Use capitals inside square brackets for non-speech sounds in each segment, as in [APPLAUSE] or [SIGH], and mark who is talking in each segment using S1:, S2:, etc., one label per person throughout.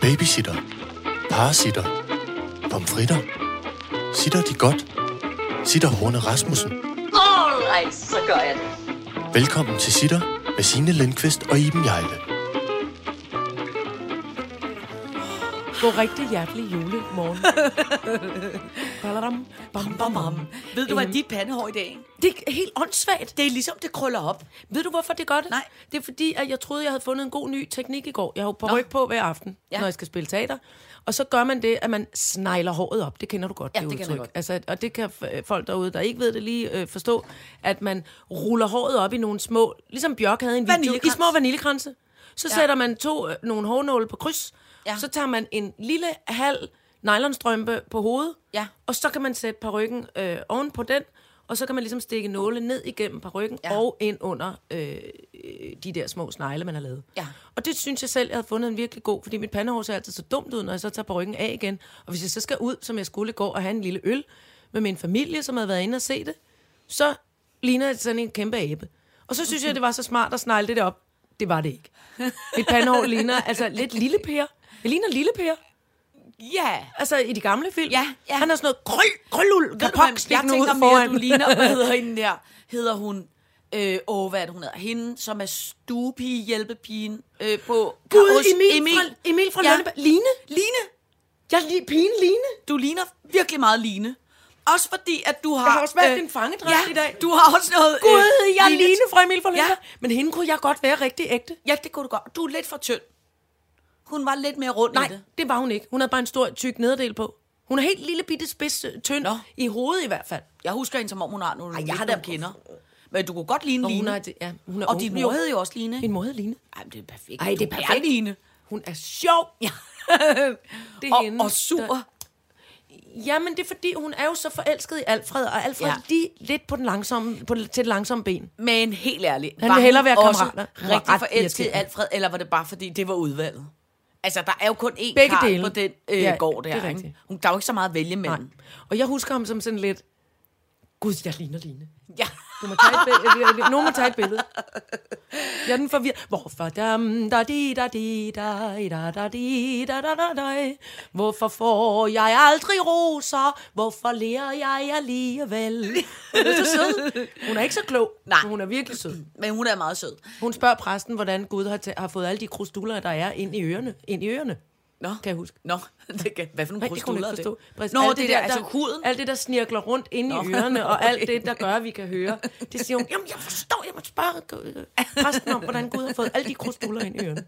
S1: Babysitter. Parasitter. Pomfritter. Sitter de godt? Sitter Horne Rasmussen.
S2: Alright, så gør jeg det.
S1: Velkommen til Sitter med Signe Lindqvist og Iben Jejle.
S3: God rigtig hjertelig [LAUGHS] julemorgen. Baladam, bam, bam, bam.
S2: Ved du, hvad
S3: Øhm.
S2: dit pandehår i dag? er?
S3: Det er helt åndssvagt.
S2: Det er ligesom, det krøller op.
S3: Ved du, hvorfor det gør det?
S2: Nej.
S3: Det er fordi, at jeg troede, jeg havde fundet en god ny teknik i går. Jeg har jo på
S2: Nå.
S3: ryg på hver aften,
S2: Ja.
S3: ja. når jeg skal spille teater. Og så gør man det, at man snegler håret op. Det kender du godt,
S2: Ja,
S3: det
S2: det kender jeg
S3: udtryk.
S2: godt.
S3: Altså, og det kan øh, folk derude, der ikke ved det, lige øh, forstå, at man ruller håret op i nogle små... Ligesom Bjørk havde en video. I
S2: Vaniljekrans.
S3: små vaniljekranse. Så ja. sætter man to, øh, nogle hårnåle på kryds.
S2: Ja.
S3: Ja. Så tager man en lille halv nylonstrømpe på hovedet.
S2: Ja.
S3: Og så kan man sætte parykken øh, oven på den, og så kan man ligesom stikke nåle ned igennem parykken
S2: Ja.
S3: ja. og ind under øh, øh, de der små snegle, man har lavet.
S2: Ja.
S3: Og det synes jeg selv, jeg havde fundet en virkelig god, fordi mit pandehår ser altid så dumt ud, når jeg så tager parykken af igen. Og hvis jeg så skal ud, som jeg skulle gå og have en lille øl med min familie, som havde været inde og se det, så ligner jeg sådan en kæmpe abe. Og så synes jeg, det var så smart at snegle det der op. Det var det ikke. Mit pandehår ligner altså lidt lille Per. Jeg ligner lille Per.
S2: Ja.
S3: Altså i de gamle film.
S2: Ja, ja.
S3: Han har sådan noget grøl, grølul,
S2: Ved du hvad,
S3: kapok,
S2: Jeg
S3: stikkende ud
S2: tænker mere,
S3: foran.
S2: du
S3: [LAUGHS]
S2: ligner, hvad hedder hende der? Hedder hun... Øh, åh, hvad er det, hun hedder? Hende, som er stuepige, hjælpepigen øh, på...
S3: Gud,
S2: hos
S3: Emil, Emil. fra, Emil fra ja. Lønneberg. Line.
S2: Line.
S3: Jeg er lige pigen Line.
S2: Du ligner virkelig meget Line. Også fordi, at du har... øh,
S3: Jeg har også valgt en fangedragt
S2: ja,
S3: i dag.
S2: du har også noget... øh,
S3: Gud, jeg er
S2: lignet-
S3: Øh, Line fra Emil fra
S2: Ja.
S3: Lønneberg. Men hende kunne jeg godt være rigtig ægte.
S2: Ja, det kunne du godt. Du er lidt for tynd. Hun var lidt mere rund i
S3: Nej,
S2: det.
S3: det var hun ikke. Hun havde bare en stor, tyk nederdel på. Hun er helt lille bitte spids, øh, tynd.
S2: Nå.
S3: I hovedet i hvert fald.
S2: Jeg husker hende, som om hun har nogle Ej,
S3: jeg har da-
S2: kender. Men du kunne godt ligne
S3: Nå,
S2: Line.
S3: hun har det- ja, hun er
S2: og
S3: ung.
S2: din
S3: Hun
S2: mor
S3: er-
S2: hed jo også Line.
S3: Min mor hed Line.
S2: Ej, men det er perfekt.
S3: Ej, det er
S2: Du
S3: perfekt.
S2: Line.
S3: Hun er sjov.
S2: Ja.
S3: [LAUGHS] Det
S2: og,
S3: hende,
S2: og sur.
S3: der- Jamen, det er fordi, hun er jo så forelsket i Alfred, og Alfred
S2: Ja.
S3: ja. lige lidt på den langsomme, på, til det langsomme ben.
S2: Men helt ærligt.
S3: Han
S2: var
S3: vil hellere være
S2: også
S3: kammerater. Hun var
S2: rigtig
S3: ret
S2: forelsket i
S3: irriterende.
S2: Alfred, eller var det bare fordi, det var udvalget? Altså, der er jo kun én
S3: Begge
S2: karl
S3: dele.
S2: på den øh,
S3: Ja,
S2: gård
S3: det er
S2: der.
S3: rigtigt.
S2: Ikke? Hun, der er jo ikke så meget at vælge
S3: Nej.
S2: mellem. [LAUGHS]
S3: Og jeg husker ham som sådan lidt, gud, jeg ligner Line.
S2: Ja.
S3: Du må tage et billede. Nogen må tage et billede. Jeg er den forvirret. Hvorfor dam, da di, da di, da, i, da, da, di, da, da, da, da. Hvorfor får jeg aldrig roser? Hvorfor lærer jeg alligevel? Hun er så sød. Hun er ikke så klog,
S2: Nej.
S3: men hun er virkelig sød.
S2: Men hun er meget sød.
S3: Hun spørger præsten, hvordan Gud har, ta- har fået alle de krustuller, der er ind i ørerne. Ind i ørerne.
S2: Nå.
S3: Kan jeg huske.
S2: Nå, [LAUGHS] det kan, hvad for nogle
S3: Nej, det kunne
S2: krustuller
S3: jeg
S2: er
S3: ikke
S2: det?
S3: forstå. Præcis.
S2: Nå,
S3: Alt
S2: det, der, altså huden.
S3: Alt det, der snirkler rundt inde i
S2: Nå, [LAUGHS]
S3: ørerne, og
S2: okay.
S3: alt det, der gør, at vi kan høre. Det siger hun, jamen jeg forstår, jeg må spørge øh, præsten om, hvordan Gud har fået alle de krustuller ind i ørerne.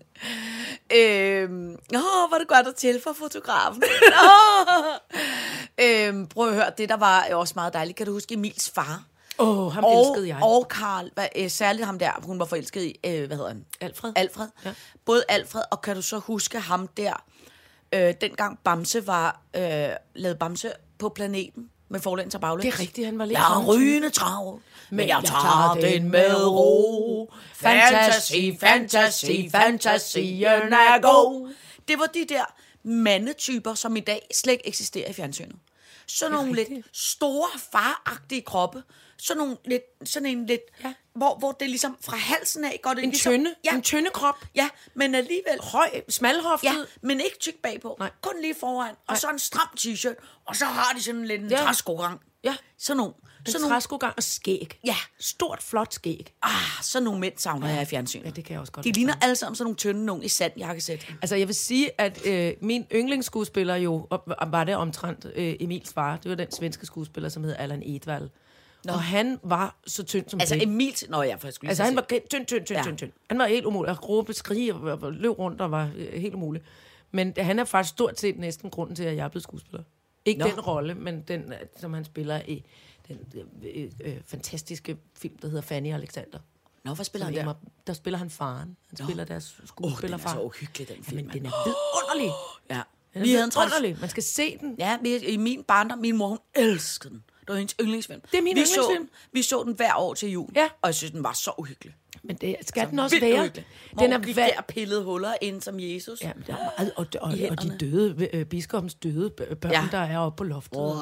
S2: Øhm, åh, var det godt at til for fotografen. [LAUGHS] Åh. øhm, prøv at høre, det der var også meget dejligt. Kan du huske Emils far?
S3: Åh, oh, ham og,
S2: Og,
S3: elskede jeg. Og,
S2: og Karl, hvad, øh, særligt ham der, hun var forelsket i, øh, hvad hedder han?
S3: Alfred.
S2: Alfred. Ja.
S3: Ja.
S2: Både Alfred, og kan du så huske ham der, øh, dengang Bamse var, øh, lavede Bamse på planeten med forlæns og baglæns.
S3: det er rigtigt, han var lidt
S2: Jeg er
S3: sådan en type.
S2: rygende travl, men jeg tager den med ro. Fantasy, fantasy, fantasien er god. Det var de der mandetyper, som i dag slet ikke eksisterer i fjernsynet. Sådan nogle lidt store, faragtige kroppe. Sådan, nogle lidt, sådan en lidt, ja.
S3: Ja.
S2: hvor, hvor det ligesom fra halsen af går det
S3: En
S2: ligesom...
S3: tynde,
S2: Ja,
S3: en tynde krop.
S2: ja, men alligevel...
S3: Høj, smalhoftet.
S2: Ja,
S3: Ja.
S2: men ikke tyk bagpå. Nej.
S3: Nej.
S2: Kun lige foran. Og så en stram t-shirt. Og så har de sådan lidt en ja.
S3: Ja.
S2: træskograng.
S3: Ja.
S2: Sådan nogle.
S3: Så
S2: Sådan
S3: en
S2: nogle,
S3: træskogang og skæg.
S2: Ja.
S3: Stort, flot skæg.
S2: ah, sådan nogle mænd savner jeg i fjernsynet.
S3: Ja, det kan jeg også godt
S2: De
S3: lide.
S2: ligner alle sammen sådan nogle tynde nogle i sandjakkesæt.
S3: Altså, jeg vil sige, at øh, min yndlingsskuespiller jo, op- var det omtrent øh, Emils far, det var den svenske skuespiller, som hed Allan Edvald. Nå. Og han var så tynd som
S2: Altså
S3: blæk.
S2: Emil... Nå ja, for jeg skulle lige
S3: Altså,
S2: så
S3: han
S2: sige-
S3: var gen- tynd, tynd, tynd, ja.
S2: Ja.
S3: tynd, tynd. Han var helt umulig. Og råbe, skrige og og- og løb rundt og var øh, helt umulig. Men han er faktisk stort set næsten grunden til, at jeg er blevet skuespiller. Ikke
S2: Nå.
S3: Nå. den rolle, men den, øh, som han spiller i den øh, øh, fantastiske film, der hedder Fanny og Alexander.
S2: Nå, hvad spiller
S3: Der,
S2: han
S3: der.
S2: der?
S3: der spiller han faren. Han spiller deres
S2: Åh, den er
S3: skuespillerfar.
S2: så uhyggelig, den film.
S3: Men den
S2: mand.
S3: er vidunderlig.
S2: Ja.
S3: Den er
S2: Vi havde en trans...
S3: vidunderlig. Man skal se den.
S2: Ja, vi, i min barndom, min mor, hun elskede den. Det var hendes yndlingsfilm.
S3: Det er min
S2: vi
S3: yndlingsfilm.
S2: Så, vi så den hver år til jul,
S3: Ja.
S2: og jeg synes, den var så uhyggelig.
S3: Men det skal den også
S2: Vildt
S3: være.
S2: uhyggelig.
S3: Den
S2: Hvor
S3: er
S2: hun gik
S3: vær-
S2: der og pillede huller ind som Jesus.
S3: Ja, men der er meget, og, og, og
S2: hænderne.
S3: de døde, øh, biskoppens døde b- børn,
S2: Ja.
S3: ja. der er oppe på loftet. Wow.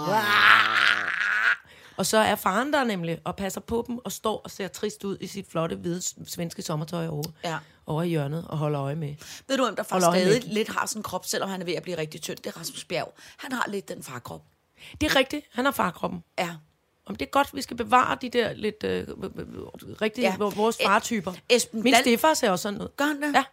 S3: Og så er faren der nemlig, og passer på dem, og står og ser trist ud i sit flotte, hvide s- svenske sommertøj over.
S2: Ja.
S3: over i hjørnet og holder øje med.
S2: Ved du, hvem der faktisk
S3: Holder øje med
S2: stadig lidt har sådan en krop, selvom han er ved at blive rigtig tynd? Det er Rasmus Bjerg. Han har lidt den farkrop.
S3: Det er rigtigt, han har farkroppen.
S2: Ja.
S3: Om det er godt, vi skal bevare de der lidt øh, rigtige,
S2: Ja.
S3: ja. vores
S2: Øh,
S3: fartyper.
S2: Esben
S3: Min
S2: Dal-
S3: stefar ser også sådan ud.
S2: Gør han det?
S3: Ja.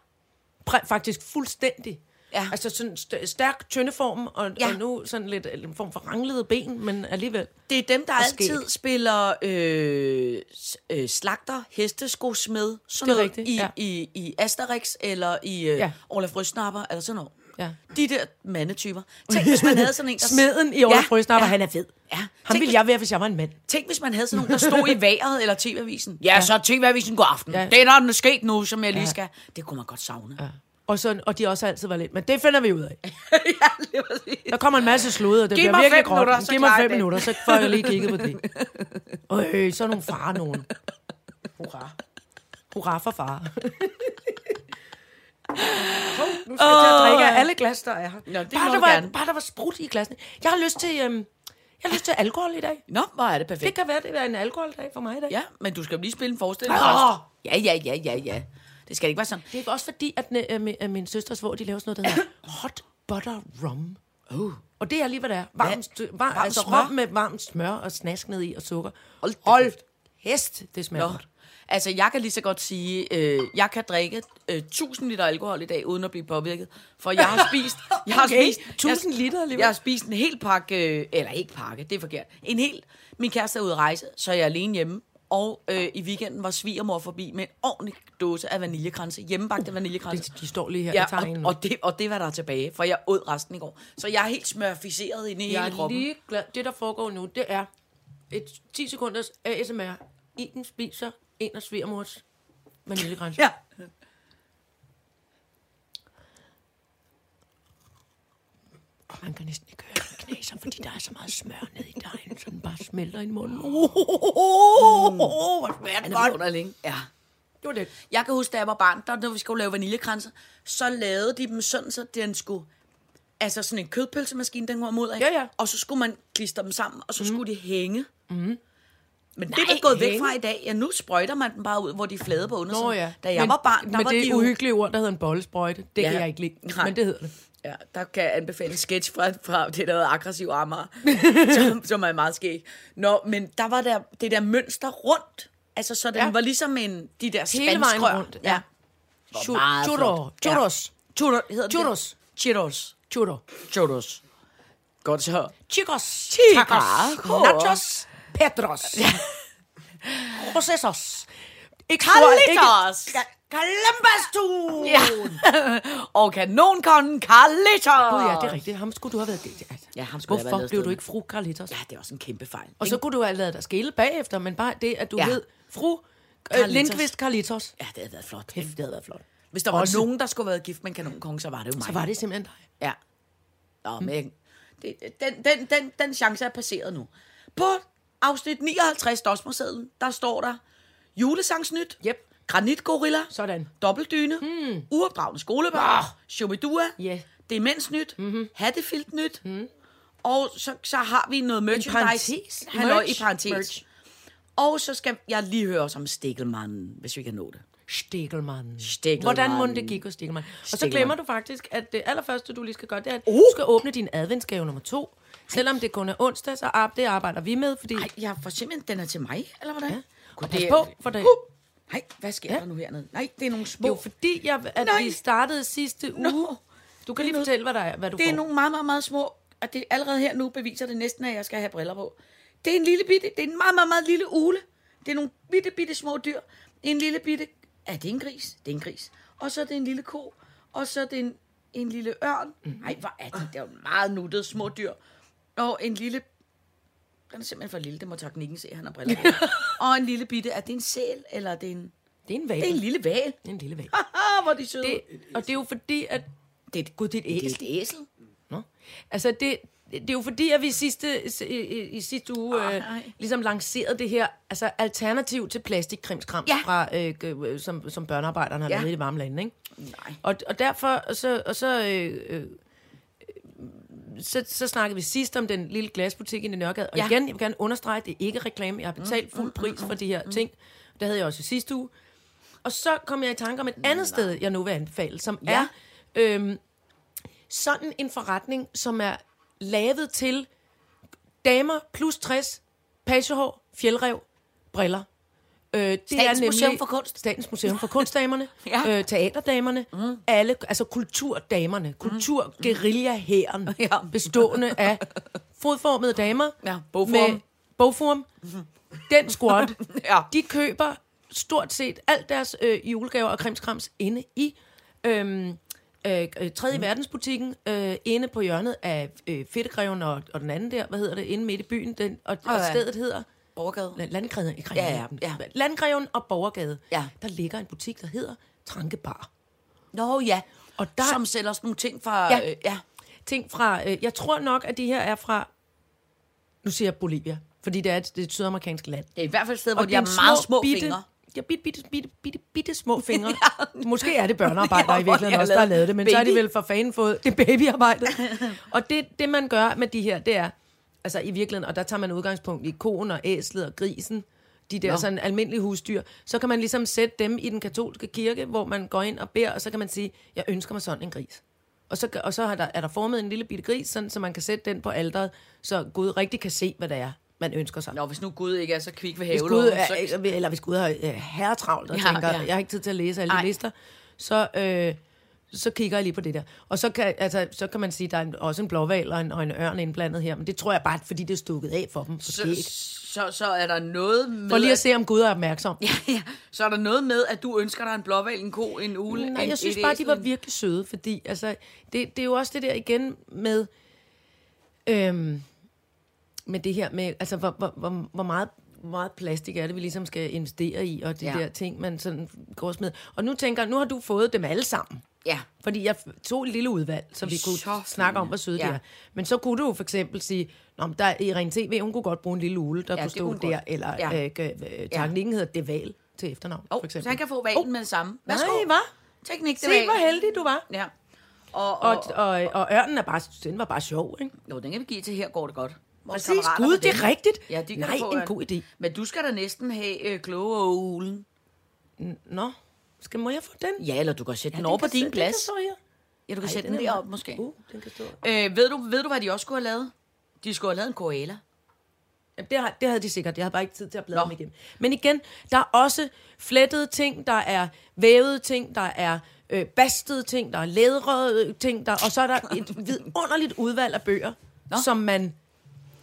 S3: Præ- faktisk fuldstændig.
S2: Ja.
S3: Altså sådan st- stærk tyndeform, og,
S2: Ja.
S3: ja. og nu sådan lidt øh, en form for ranglede ben, men alligevel.
S2: Det er dem, der
S3: Og skæg.
S2: altid spiller øh, s- øh, slagter, hesteskosmed, sådan
S3: Det er
S2: noget,
S3: rigtigt,
S2: i,
S3: ja.
S2: i, i Asterix eller i øh, ja.
S3: Ja.
S2: Olaf Røsnapper, eller sådan noget.
S3: Ja.
S2: De der mandetyper.
S3: [LAUGHS]
S2: Tænk, hvis man havde sådan en, der...
S3: Smeden i Ole ja. Frøsnapper, ja. han er fed.
S2: Ja.
S3: Ham
S2: Tænk,
S3: ville jeg være, hvis jeg var en mand.
S2: Tænk, hvis man havde sådan nogen, der stod i vejret eller tv-avisen. Ja, ja. så er tv-avisen god aften. Ja.
S3: Ja.
S2: Det er der er sket nu, som jeg lige
S3: Ja.
S2: skal. Det kunne man godt savne. Ja,
S3: Og, sådan, og de også altid var lidt, men det finder vi ud [LAUGHS] af.
S2: lige præcis.
S3: Der kommer en masse sludder, det
S2: Giv
S3: bliver
S2: mig
S3: virkelig
S2: fem
S3: gråt.
S2: minutter, så
S3: Giv mig
S2: klarer jeg
S3: fem
S2: det.
S3: minutter, så får jeg lige kigget på [LAUGHS] det. Øh, så er nogle far nogen. Hurra. Hurra for far. nu skal jeg til at drikke af alle glas, der er her.
S2: Nå, det må
S3: bare,
S2: du
S3: der var,
S2: gerne.
S3: bare der var sprut i glassene. Jeg har lyst til, øhm, jeg har lyst til alkohol i dag.
S2: Nå, hvor er det
S3: Det
S2: perfekt.
S3: kan være, det er en alkoholdag for mig i dag.
S2: Ja, men du skal jo lige spille en forestilling
S3: Åh!
S2: først. Ja, ja, ja, ja, ja. Det skal ikke være sådan.
S3: Det er også fordi, at, øh, min, øh, min søsters svor, de laver sådan noget, der hedder hot butter rum.
S2: Uh.
S3: Og det er lige, hvad det er. Varmt, ja. var,
S2: Varmt
S3: varmt altså,
S2: smør?
S3: rum med varmt smør og snask ned i og sukker.
S2: Hold da
S3: Hold
S2: kæft.
S3: hest, det smager
S2: Nå.
S3: godt.
S2: Altså, jeg kan lige så godt sige, øh, jeg kan drikke øh, 1000 liter alkohol i dag, uden at blive påvirket. For jeg har
S3: [LAUGHS]
S2: spist... Jeg har
S3: Okay,
S2: spist
S3: 1000
S2: jeg,
S3: liter alligevel.
S2: Jeg har spist en hel pakke... Øh, eller ikke pakke, det er forkert. En hel... Min kæreste er ude at rejse, så jeg er alene hjemme. Og øh, i weekenden var svigermor forbi med en ordentlig dåse af vaniljekranse. Hjemmebagte vaniljekranse.
S3: Det, Altså, de står lige her.
S2: Ja,
S3: jeg tager en.
S2: og, og, det, og det var der er tilbage, for jeg åd resten i går. Så jeg er helt smørficeret inde i
S3: jeg
S2: hele
S3: er
S2: kroppen.
S3: lige glad. Det, der foregår nu, det er et 10 sekunders ASMR. Iben spiser en af svigermors vaniljegrænse.
S2: Ja.
S3: Mm. Man kan næsten ikke høre, at den knaser, fordi der er så meget smør ned i dejen, så den bare smelter i munden. Uh,
S2: Oh, oh, oh, [LAUGHS] hvor smager
S3: det
S2: det
S3: godt.
S2: godt. Ja.
S3: det var det.
S2: Jeg kan huske, da jeg var barn, der, når vi skulle lave vaniljekranser, så lavede de dem sådan, så den skulle... Altså sådan en kødpølsemaskine, den kom ud af.
S3: Ja, ja.
S2: Og så skulle man klistre dem sammen, og så mm. skulle de hænge. Mm. Men Nej, det er
S3: Nej,
S2: man gået væk
S3: hænge.
S2: fra i dag. Ja, nu sprøjter man dem bare ud, hvor de er flade på undersiden.
S3: Nå ja.
S2: Da jeg
S3: men,
S2: var barn, der
S3: men
S2: var
S3: det
S2: de
S3: er
S2: jo-
S3: uhyggelige ord, der hedder en bollesprøjte. Det
S2: Ja.
S3: ja. kan jeg ikke lide.
S2: Nej.
S3: Men det hedder det.
S2: Ja, der kan jeg anbefale en sketch fra, fra det, der hedder Aggressiv
S3: [LAUGHS]
S2: Amager, som, som er meget skæg. Nå, men der var der, det der mønster rundt. Altså, så den ja.
S3: Ja.
S2: var ligesom en, de der
S3: Hele vejen
S2: spanskrør.
S3: rundt, ja.
S2: Chu- meget
S3: Churro.
S2: flot.
S3: Churros.
S2: Churros hedder det.
S3: Churros.
S2: Churros.
S3: Churro.
S2: Churros. Godt så.
S3: Chicos.
S2: Chicos.
S3: Tacos. Nachos. Petros. Processos. Ikke stor- ikke-
S2: Carlitos.
S3: Kalambastun.
S2: Ja. [LAUGHS] og kanonkongen Carlitos.
S3: Gud, ja, det er rigtigt. Ham skulle du have været... det- Altså,
S2: Ja, ham skulle jeg have været
S3: Hvorfor
S2: lavet
S3: blev
S2: sted
S3: du
S2: med.
S3: ikke fru Carlitos?
S2: Ja, det er også en kæmpe fejl.
S3: Og så kunne du have lavet dig skille bagefter, men bare det, at du
S2: Ja.
S3: hed fru øh,
S2: Carlitos.
S3: Lindqvist Carlitos.
S2: Ja, det havde været flot.
S3: Kæft, det havde været flot.
S2: Hvis der var
S3: Også-
S2: nogen, der skulle have været gift med en kanonkong, så var det jo mig.
S3: Så var det simpelthen dig.
S2: Ja. Nå,
S3: Hm.
S2: men det, den, den, den, den chance er passeret nu. På afsnit 59, Dosmersedlen, der står der julesangsnyt,
S3: Yep.
S2: granitgorilla,
S3: Sådan. Hmm.
S2: dobbeltdyne, mm. uopdragende skolebørn, shubidua,
S3: Ja. Mhm. Hmm.
S2: demensnyt, mm-hmm. hattefiltnyt, mm. og så, så har vi noget merchandise.
S3: parentes.
S2: Halløj, i
S3: Merch.
S2: parentes.
S3: Merch.
S2: Og så skal jeg lige høre os om Stikkelmannen, hvis vi kan nå det.
S3: Stikkelmann.
S2: Stegelmann.
S3: Hvordan må det gik hos Stikkelmann? Og så
S2: Stegelmann.
S3: glemmer du faktisk, at det allerførste, du lige skal gøre, det er, at
S2: Uh!
S3: du skal åbne din adventsgave nummer to. Selvom det kun er onsdag, så ar- det arbejder vi med, fordi...
S2: Nej, jeg får simpelthen, den er til mig, eller hvordan? Ja.
S3: Og pas på, for det-
S2: Nej, hvad sker ja. der nu hernede? Nej, det er nogle små...
S3: Det er jo fordi, jeg, at
S2: Nej.
S3: vi startede sidste uge.
S2: Nå.
S3: Du kan lige fortælle, hvad, der er, hvad du
S2: Det er
S3: får.
S2: nogle meget, meget, meget små, og det er allerede her nu beviser det næsten, at jeg skal have briller på. Det er en lille bitte, det er en meget, meget, meget lille ule. Det er nogle bitte, bitte små dyr. En lille bitte, er det en gris? Det er en gris. Og så er det en lille ko, og så er det en, en lille ørn. Nej, hvor er det? Det er jo meget nuttede små dyr. Og en lille, den er simpelthen for lille, det må teknikken se, at han har briller på. og en lille bitte, er det en sæl, eller er det en,
S3: Det er en
S2: det er en
S3: valg.
S2: lille val?
S3: En lille valg.
S2: [LAUGHS] Haha, hvor er de søde.
S3: Det, og det er jo fordi, at... Det er et, Gud, det er et æsel.
S2: det er et æsel.
S3: Nå. Altså, det, det er jo fordi, at vi sidste, i, i, i sidste uge
S2: Åh,
S3: øh,
S2: nej.
S3: ligesom lancerede det her altså, alternativ til plastikkrimskram,
S2: Ja.
S3: ja. fra, øh, g- øh, som, som børnearbejderne har
S2: Ja.
S3: ja. lavet i de varme lande. Ikke?
S2: Nej.
S3: Og, og derfor, og så, og så, øh, øh, så, så snakkede vi sidst om den lille glasbutik i Nørregade. Og
S2: Ja. Mm,
S3: ja. igen, jeg vil gerne understrege, at det er ikke reklame. Jeg har betalt fuld pris for de her ting. Det havde jeg også i sidste uge. Og så kom jeg i tanke om et andet sted, jeg nu vil anbefale, som
S2: Ja.
S3: er øhm, sådan en forretning, som er lavet til damer plus 60, pagehår, fjelrev, briller. Øh, det
S2: Statens Museum for Kunst.
S3: Statens Museum for Kunstdamerne,
S2: [LAUGHS] Ja. Mm.
S3: ja. øh, teaterdamerne, mm. alle, altså kulturdamerne, kultur guerillahæren,
S2: [LAUGHS] Ja.
S3: ja. bestående af fodformede damer
S2: Ja, bogform.
S3: med bogform. Den squad,
S2: [LAUGHS] Ja.
S3: de køber stort set alt deres øh, julegaver og krimskrams inde i øhm, øh, øh, 3. Mm. verdensbutikken, øh, inde på hjørnet af øh, Fedtegreven og, og den anden der, hvad hedder det, inde midt i byen, den, og, og
S2: ja.
S3: stedet hedder...
S2: Borgergade.
S3: La- Landgreven, ikke
S2: Ja, ja,
S3: Ringkøbing.
S2: ja.
S3: Landgreven og Borgergade.
S2: Ja.
S3: Der ligger en butik, der hedder Trankebar.
S2: Nå ja,
S3: Og der-
S2: som sælger sådan nogle ting fra...
S3: Ja.
S2: Øh, ja.
S3: Ting fra, øh, jeg tror nok, at de her er fra, nu siger jeg Bolivia, fordi det er et, det er et sydamerikansk land.
S2: Det er i hvert fald et sted, hvor
S3: Og
S2: de har
S3: dine
S2: meget små
S3: bitte,
S2: fingre.
S3: Ja, bitte, bitte, bitte, bitte, bitte
S2: [LAUGHS]
S3: små fingre. ja. Måske er det børnearbejdere i
S2: Ja, hvor de
S3: virkeligheden
S2: har
S3: også, der har
S2: lavet
S3: lavet det, men baby. så har de
S2: baby.
S3: vel for fanden fået det
S2: [LAUGHS]
S3: babyarbejde. og det, det, man gør med de her, det er, altså i virkeligheden, og der tager man udgangspunkt i koen og æslet og grisen, de der
S2: Nå.
S3: sådan almindelige husdyr, så kan man ligesom sætte dem i den katolske kirke, hvor man går ind og beder, og så kan man sige, jeg ønsker mig sådan en gris. Og så, og så er, der, er der formet en lille bitte gris, sådan, så man kan sætte den på alderet, så Gud rigtig kan se, hvad det er, man ønsker sig.
S2: Nå, hvis nu Gud ikke er så kvik ved
S3: Hvis Gud
S2: haveloven,
S3: er,
S2: så...
S3: ikke- eller hvis Gud har øh, herretravlt og
S2: Ja,
S3: ja, tænker,
S2: ja.
S3: ja. jeg har ikke tid til at læse alle
S2: Ej.
S3: de lister, så, øh, så kigger jeg lige på det der. Og så kan, altså, så kan man sige, at der er en, også en blåval og en, og en ørn indblandet her, men det tror jeg bare, fordi det er stukket af for dem. Så,
S2: Så, så, så er der noget med...
S3: for lige at se, om Gud er opmærksom. Ja,
S2: [LAUGHS] Ja, ja. Så er der noget med, at du ønsker dig en blåval, en ko, en ule,
S3: Nej,
S2: en, E
S3: jeg synes
S2: et
S3: bare,
S2: æsel,
S3: de var
S2: en-
S3: virkelig søde, fordi altså, det, det er jo også det der igen med, øhm, med det her med, altså, hvor, hvor, hvor, hvor meget hvor meget plastik er det, vi ligesom skal investere i, og de
S2: Ja.
S3: ja. der ting, man sådan går og smider. Og nu tænker jeg, nu har du fået dem alle sammen.
S2: Ja.
S3: Fordi jeg f- tog et lille udvalg, så vi
S2: Så
S3: kunne
S2: fine.
S3: snakke om, hvor søde ja.
S2: Ja.
S3: de er. Men så kunne du jo for eksempel sige, Nå, men der, Irene TV, hun kunne godt bruge en lille ule, der
S2: Ja,
S3: ja, kunne
S2: det
S3: stå
S2: kunne
S3: der.
S2: hun
S3: Godt.
S2: godt.
S3: Eller
S2: Ja.
S3: ja. øh, øh, teknikken ja. hedder Deval til efternavn,
S2: Oh,
S3: for
S2: så
S3: eksempel.
S2: han kan få valen oh. med det samme. Værsgo.
S3: Nej, hvad?
S2: Teknik, det
S3: Se, hvor heldig du var.
S2: Ja. Og, og,
S3: Og,
S2: og,
S3: og, og ørnen er bare, den var bare sjov, ikke?
S2: jo, den kan vi give til her, går det godt. Vores
S3: Præcis,
S2: kammerater
S3: Gud,
S2: med
S3: det er
S2: dem.
S3: rigtigt.
S2: Ja, de kan
S3: Nej,
S2: få
S3: en
S2: ørn.
S3: god idé.
S2: Men du skal da næsten have øh, kloge og ulen.
S3: Nå, skal, må jeg få den?
S2: Ja, eller du kan sætte ja, den
S3: Den
S2: over på
S3: kan
S2: din
S3: sidde-
S2: plads.
S3: Den kan stå her.
S2: Ja, du kan
S3: Ej,
S2: sætte
S3: den
S2: den
S3: er
S2: derop
S3: meget-
S2: måske.
S3: Uh, den kan stå.
S2: Øh, ved, du, ved du, hvad de også skulle have lavet? De skulle have lavet en koala.
S3: Jamen, det, har, det havde de sikkert. Jeg havde bare ikke tid til at
S2: Nå.
S3: bladre dem igen. Men igen, der er også flettede ting, der er vævede ting, der er øh, bastede ting, der er lædrede ting, der, og så er der
S2: [LAUGHS]
S3: et vidunderligt udvalg af bøger, Nå. som man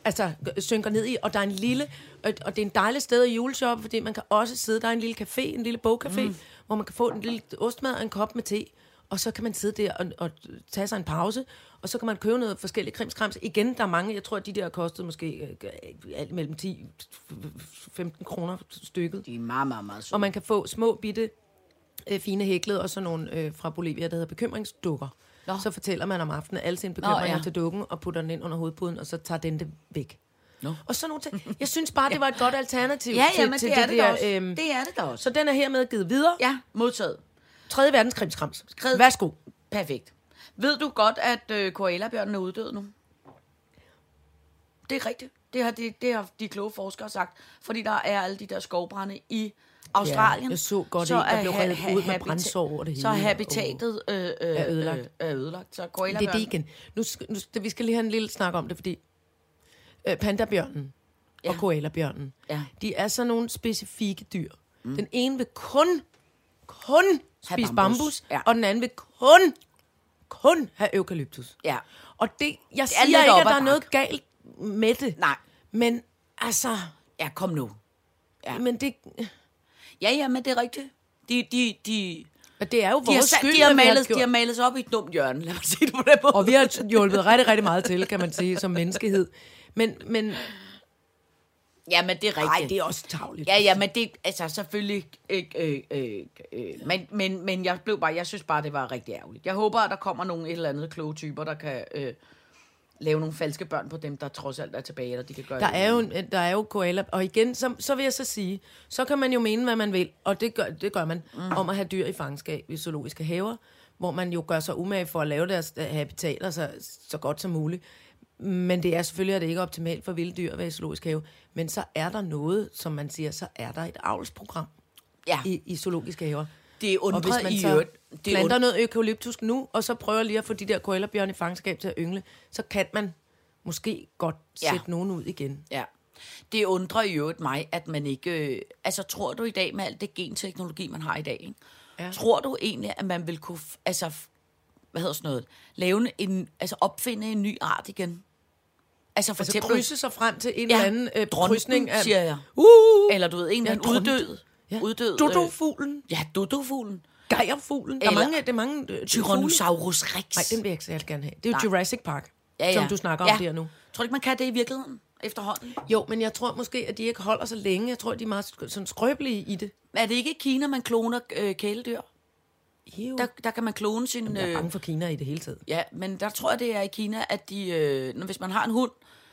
S3: altså, g- synker ned i, og der er en lille, og, og det er en dejlig sted at juleshoppe, fordi man kan også sidde, der er en lille café, en lille bogcafé, mm. hvor man kan få en lille ostmad og en kop med te, og så kan man sidde der og, og tage sig en pause, og så kan man købe noget forskellige krimskrams. Igen, der er mange, jeg tror, at de der kostede måske øh, alt mellem 10-15 kroner stykket.
S2: De er meget, meget, meget søde.
S3: Og man kan få små, bitte, øh, fine hæklede, og så nogle øh, fra Bolivia, der hedder bekymringsdukker.
S2: Nå.
S3: Nå. Så fortæller man om aftenen alle sine bekymringer
S2: ja.
S3: ja. til dukken, og putter den ind under hovedpuden, og så tager den det væk.
S2: Nå.
S3: Og sådan nogle
S2: [LAUGHS]
S3: ting. Jeg synes bare, det var et godt alternativ
S2: Ja,
S3: til,
S2: ja, men
S3: til
S2: det, er det, da
S3: der.
S2: også.
S3: øhm,
S2: det er det da også.
S3: Så den er hermed givet videre. Ja.
S2: Ja, modtaget.
S3: 3. verdenskrimskrams.
S2: Skred-
S3: Værsgo.
S2: Perfekt. Ved du godt, at øh, koalabjørnen er uddød nu? Det er rigtigt. Det har, de, det har de kloge forskere sagt. Fordi der er alle de der skovbrænde i Australien.
S3: jeg så godt en, der
S2: er
S3: blev
S2: ha-
S3: revet
S2: ha-
S3: ud med
S2: habita-
S3: brandsår over det
S2: Så er
S3: hele.
S2: habitatet øh, øh, er,
S3: ødelagt.
S2: Øh, er ødelagt.
S3: Det er
S2: Så
S3: det
S2: koalabjørnen...
S3: igen. Nu, sk- nu, sk- vi skal lige have en lille snak om det, fordi øh, pandabjørnen ja. og
S2: Ja.
S3: koalabjørnen,
S2: Ja.
S3: de er sådan nogle specifikke dyr. Mm. Den ene vil kun, kun
S2: Have
S3: spise
S2: bambus.
S3: bambus, bambus
S2: Ja.
S3: ja. og den anden vil kun, kun have eukalyptus.
S2: Ja.
S3: Og det, jeg det
S2: er lidt
S3: siger ikke,
S2: op
S3: at der
S2: ad
S3: er noget galt med det.
S2: Nej.
S3: Men altså,
S2: Ja, kom nu.
S3: ja. men det,
S2: Ja, ja, men det er rigtigt. De, de, de,
S3: og det er jo
S2: de, har,
S3: vores
S2: sat,
S3: skyld,
S2: de, har
S3: at vi har
S2: malet, de har
S3: gjort-
S2: malet sig op i et dumt hjørne. Lad mig sige det på den måde.
S3: Og vi har hjulpet rigtig, rigtig meget til, kan man sige, som menneskehed. Men, men
S2: Ja, men det er rigtigt.
S3: ej, det er også tavligt.
S2: Ja, ja, men det, altså selvfølgelig, ikke, øh, øh, øh, men, men, men jeg blev bare, jeg synes bare, det var rigtig ærgerligt. Jeg håber, at der kommer nogle et eller andet kloge typer, der kan øh, lave nogle falske børn på dem, der trods alt er tilbage, eller de kan gøre
S3: Der
S2: det.
S3: er jo, en- der er jo koala, og igen, så, så vil jeg så sige, så kan man jo mene, hvad man vil, og det gør, det gør man, mm. om at have dyr i fangenskab i zoologiske haver, hvor man jo gør sig umage for at lave deres øh, habitater så, så godt som muligt. Men det er selvfølgelig, at det ikke er optimalt for vilde dyr at være i zoologisk have, men så er der noget, som man siger, så er der et avlsprogram.
S2: Ja.
S3: i, i zoologiske haver.
S2: Det undrer
S3: og hvis man
S2: i
S3: så
S2: øvrigt- det
S3: planter
S2: und-
S3: noget eukalyptus nu, og så prøver lige at få de der koalabjørn i fangenskab til at yngle, så kan man måske godt
S2: Ja.
S3: ja. sætte nogen ud igen.
S2: Ja. Det undrer i øvrigt mig, at man ikke... Øh, altså, tror du i dag med alt det genteknologi, man har i dag, ikke? Ja.
S3: Ja.
S2: tror du egentlig, at man vil kunne... F- altså, f- hvad hedder sådan noget? Lave en, altså opfinde en ny art igen? Altså for
S3: Altså
S2: eksempel...
S3: krydse sig frem til en
S2: Ja,
S3: eller anden øh,
S2: dronten,
S3: krydsning af...
S2: siger jeg.
S3: Uh, uh,
S2: Eller du ved, en eller
S3: Ja,
S2: anden
S3: dronten.
S2: uddød. Ja. Uddød. øh,
S3: Dodofuglen,
S2: Ja, dodofuglen.
S3: gejerfuglen. Der er
S2: Eller-
S3: mange, det er mange øh, fugle.
S2: Tyrannosaurus rex.
S3: Nej, den vil jeg ikke særlig gerne have. Det er jo Jurassic Park,
S2: Ja, ja.
S3: som du snakker om
S2: ja.
S3: der nu.
S2: Tror du ikke, man kan det i virkeligheden efterhånden?
S3: Jo, men jeg tror måske, at de ikke holder så længe. Jeg tror, de er meget sk- sådan skrøbelige i det.
S2: Er det ikke i Kina, man kloner øh, kæledyr?
S3: Jo.
S2: Der,
S3: Der,
S2: der kan man klone sin...
S3: jeg er
S2: Øh,
S3: bange for Kina i det hele taget.
S2: Ja, men der tror jeg, det er i Kina, at de, øh, når, hvis man har en hund,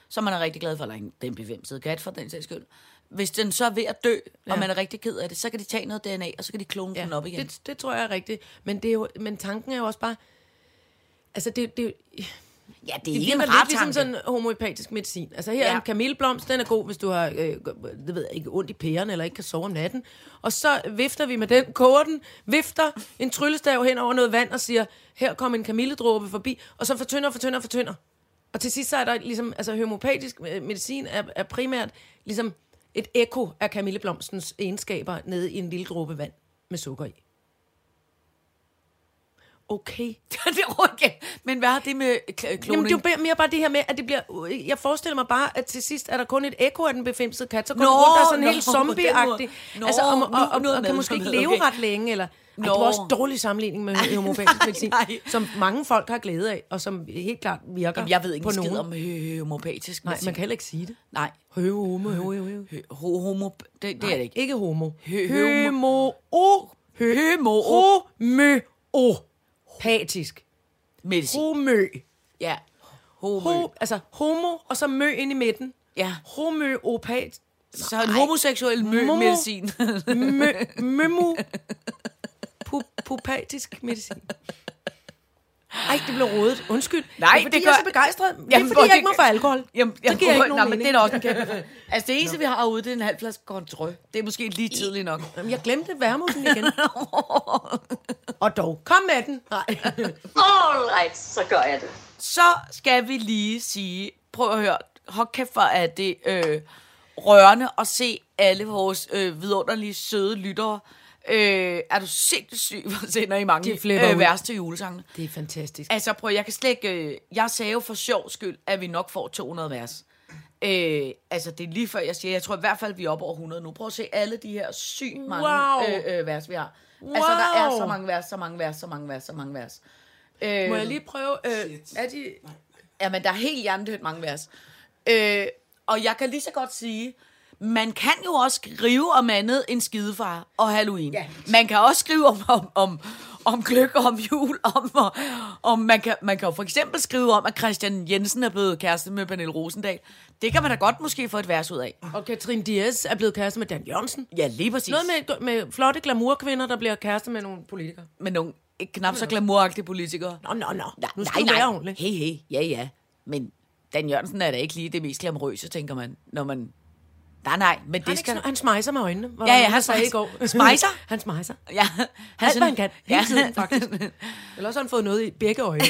S2: som man er rigtig glad for, eller en den bevimsede kat for den sags skyld, hvis den så er ved at dø, ja. og man er rigtig ked af det, så kan de tage noget DNA, og så kan de klone ja, den op igen. Det,
S3: Det, det tror jeg er rigtigt. Men, det er jo, men tanken er jo også bare... Altså, det, det, det,
S2: ja, det er
S3: det
S2: ikke
S3: virker
S2: en
S3: lidt
S2: rar
S3: ligesom
S2: tanke. Sådan, [LAUGHS]
S3: sådan homoepatisk medicin. Altså, her
S2: Ja.
S3: er en kamilleblomst, den er god, hvis du har øh, det ved jeg, ikke ondt i pæren, eller ikke kan sove om natten. Og så vifter vi med den, koger den, vifter en tryllestav hen over noget vand og siger, her kommer en kamilledråbe forbi, og så fortynder, fortynder, fortynder. Og til sidst så er der ligesom, altså homopatisk øh, medicin er, er primært ligesom et ekko af kamilleblomstens egenskaber nede i en lille dråbe vand med sukker i. Okay. [LAUGHS]
S2: okay. Men hvad har det med øh, kl- kloning?
S3: Jamen, det er jo mere bare det her med, at det bliver... øh, Jeg forestiller mig bare, at til sidst er der kun et ekko af den befimsede kat, så går
S2: Nå,
S3: den rundt og er sådan
S2: nå,
S3: helt
S2: på den
S3: zombieagtig.
S2: måde. Nå,
S3: Altså, og, og,
S2: nu-
S3: og,
S2: nu er
S3: og, og kan måske ikke
S2: medkommet,
S3: leve
S2: okay.
S3: ret længe, eller... Ej, det
S2: Nå.
S3: var også en dårlig sammenligning med homopatisk medicin,
S2: nej.
S3: som mange folk har glæde af, og som helt klart virker
S2: Jamen, jeg ved ikke
S3: på
S2: en skid
S3: nogen.
S2: om hø- homopatisk
S3: Nej,
S2: medicin.
S3: man kan heller ikke sige det.
S2: Nej.
S3: Høve, homo, høve, høve.
S2: Hø- ho- homo... Det, det er det ikke.
S3: Ikke homo.
S2: Hø-
S3: Hømo. O.
S2: Hømo.
S3: Homø. O. Patisk.
S2: Medicin.
S3: Homø.
S2: Ja. Homo.
S3: Ho, altså homo, og så mø ind i midten.
S2: Ja.
S3: Homøopat.
S2: Så en homoseksuel mø-
S3: Momo.
S2: medicin. [LAUGHS]
S3: Mø, mømu. Pu, pupatisk medicin. Ej, det blev rodet. Undskyld.
S2: Nej,
S3: det er, fordi jeg
S2: det gør-
S3: er så begejstret. Jamen, det er,
S2: Jamen, hvor
S3: fordi jeg
S2: det-
S3: ikke må få alkohol.
S2: Jamen,
S3: så giver jeg ikke nogen
S2: [LAUGHS] nej, men det er
S3: mening.
S2: da også en kæmpe
S3: [LAUGHS]
S2: fejl. Altså, det eneste, vi har herude, det er en halv flaske Control. Det er måske lige tidligt nok.
S3: Jamen, jeg glemte værmusen
S2: [LAUGHS]
S3: igen. og dog, kom med den. Nej.
S4: Alright, så gør jeg det.
S2: Så skal vi lige sige, prøv at høre, hold kæft for, at det øh, rørende at se alle vores øh, vidunderlige, søde lyttere. Øh, er du sindssygt syg, hvor sender I
S3: De
S2: mange
S3: flipper
S2: øh,
S3: ud.
S2: værste julesangene?
S3: Det er fantastisk.
S2: Altså prøv, jeg kan slet ikke... Øh, jeg sagde jo for sjov skyld, at vi nok får 200 vers. Øh, altså det er lige før jeg siger, jeg tror i hvert fald, vi er oppe over 100 nu. Prøv at se alle de her sygt mange
S3: Wow.
S2: øh, øh, vers, vi har. Altså der er
S3: Wow.
S2: så mange vers, så mange vers, så mange vers, så mange vers. Øh,
S3: Må jeg lige prøve? Øh, er de...
S2: Jamen der er helt hjernedødt mange vers. Øh, og jeg kan lige så godt sige... Man kan jo også skrive om andet end skidefar og Halloween. Ja. Man kan også skrive om, om, om, om gløk, om jul, om, om man, kan, man kan jo for eksempel skrive om, at Christian Jensen er blevet kæreste med Pernille Rosendal. Det kan man da godt måske få et vers ud af.
S3: Og Katrin Diaz er blevet kæreste med Dan Jørgensen.
S2: Ja, lige præcis.
S3: Noget med, med flotte glamourkvinder, der bliver kæreste med nogle politikere.
S2: med nogle ikke knap så glamouragtige politikere.
S3: Nå, nå, nå.
S2: Nej,
S3: nu skal du
S2: nej,
S3: være
S2: nej.
S3: ordentlig.
S2: Hey, hey, ja, ja. Men Dan Jørgensen er da ikke lige det mest glamourøse, tænker man, når man... Nej, nej, men
S3: Han,
S2: det
S3: skal...
S2: skal...
S3: han smejser med øjnene. var
S2: Ja,
S3: der
S2: ja,
S3: nogen, der
S2: han
S3: sagde i
S2: smejser.
S3: går.
S2: Smejser?
S3: [LAUGHS] han smejser.
S2: Ja, han er
S3: Alt,
S2: sådan-
S3: hvad han kan. Hele ja. tiden, faktisk. Eller også har han fået noget i begge [LAUGHS] øjne.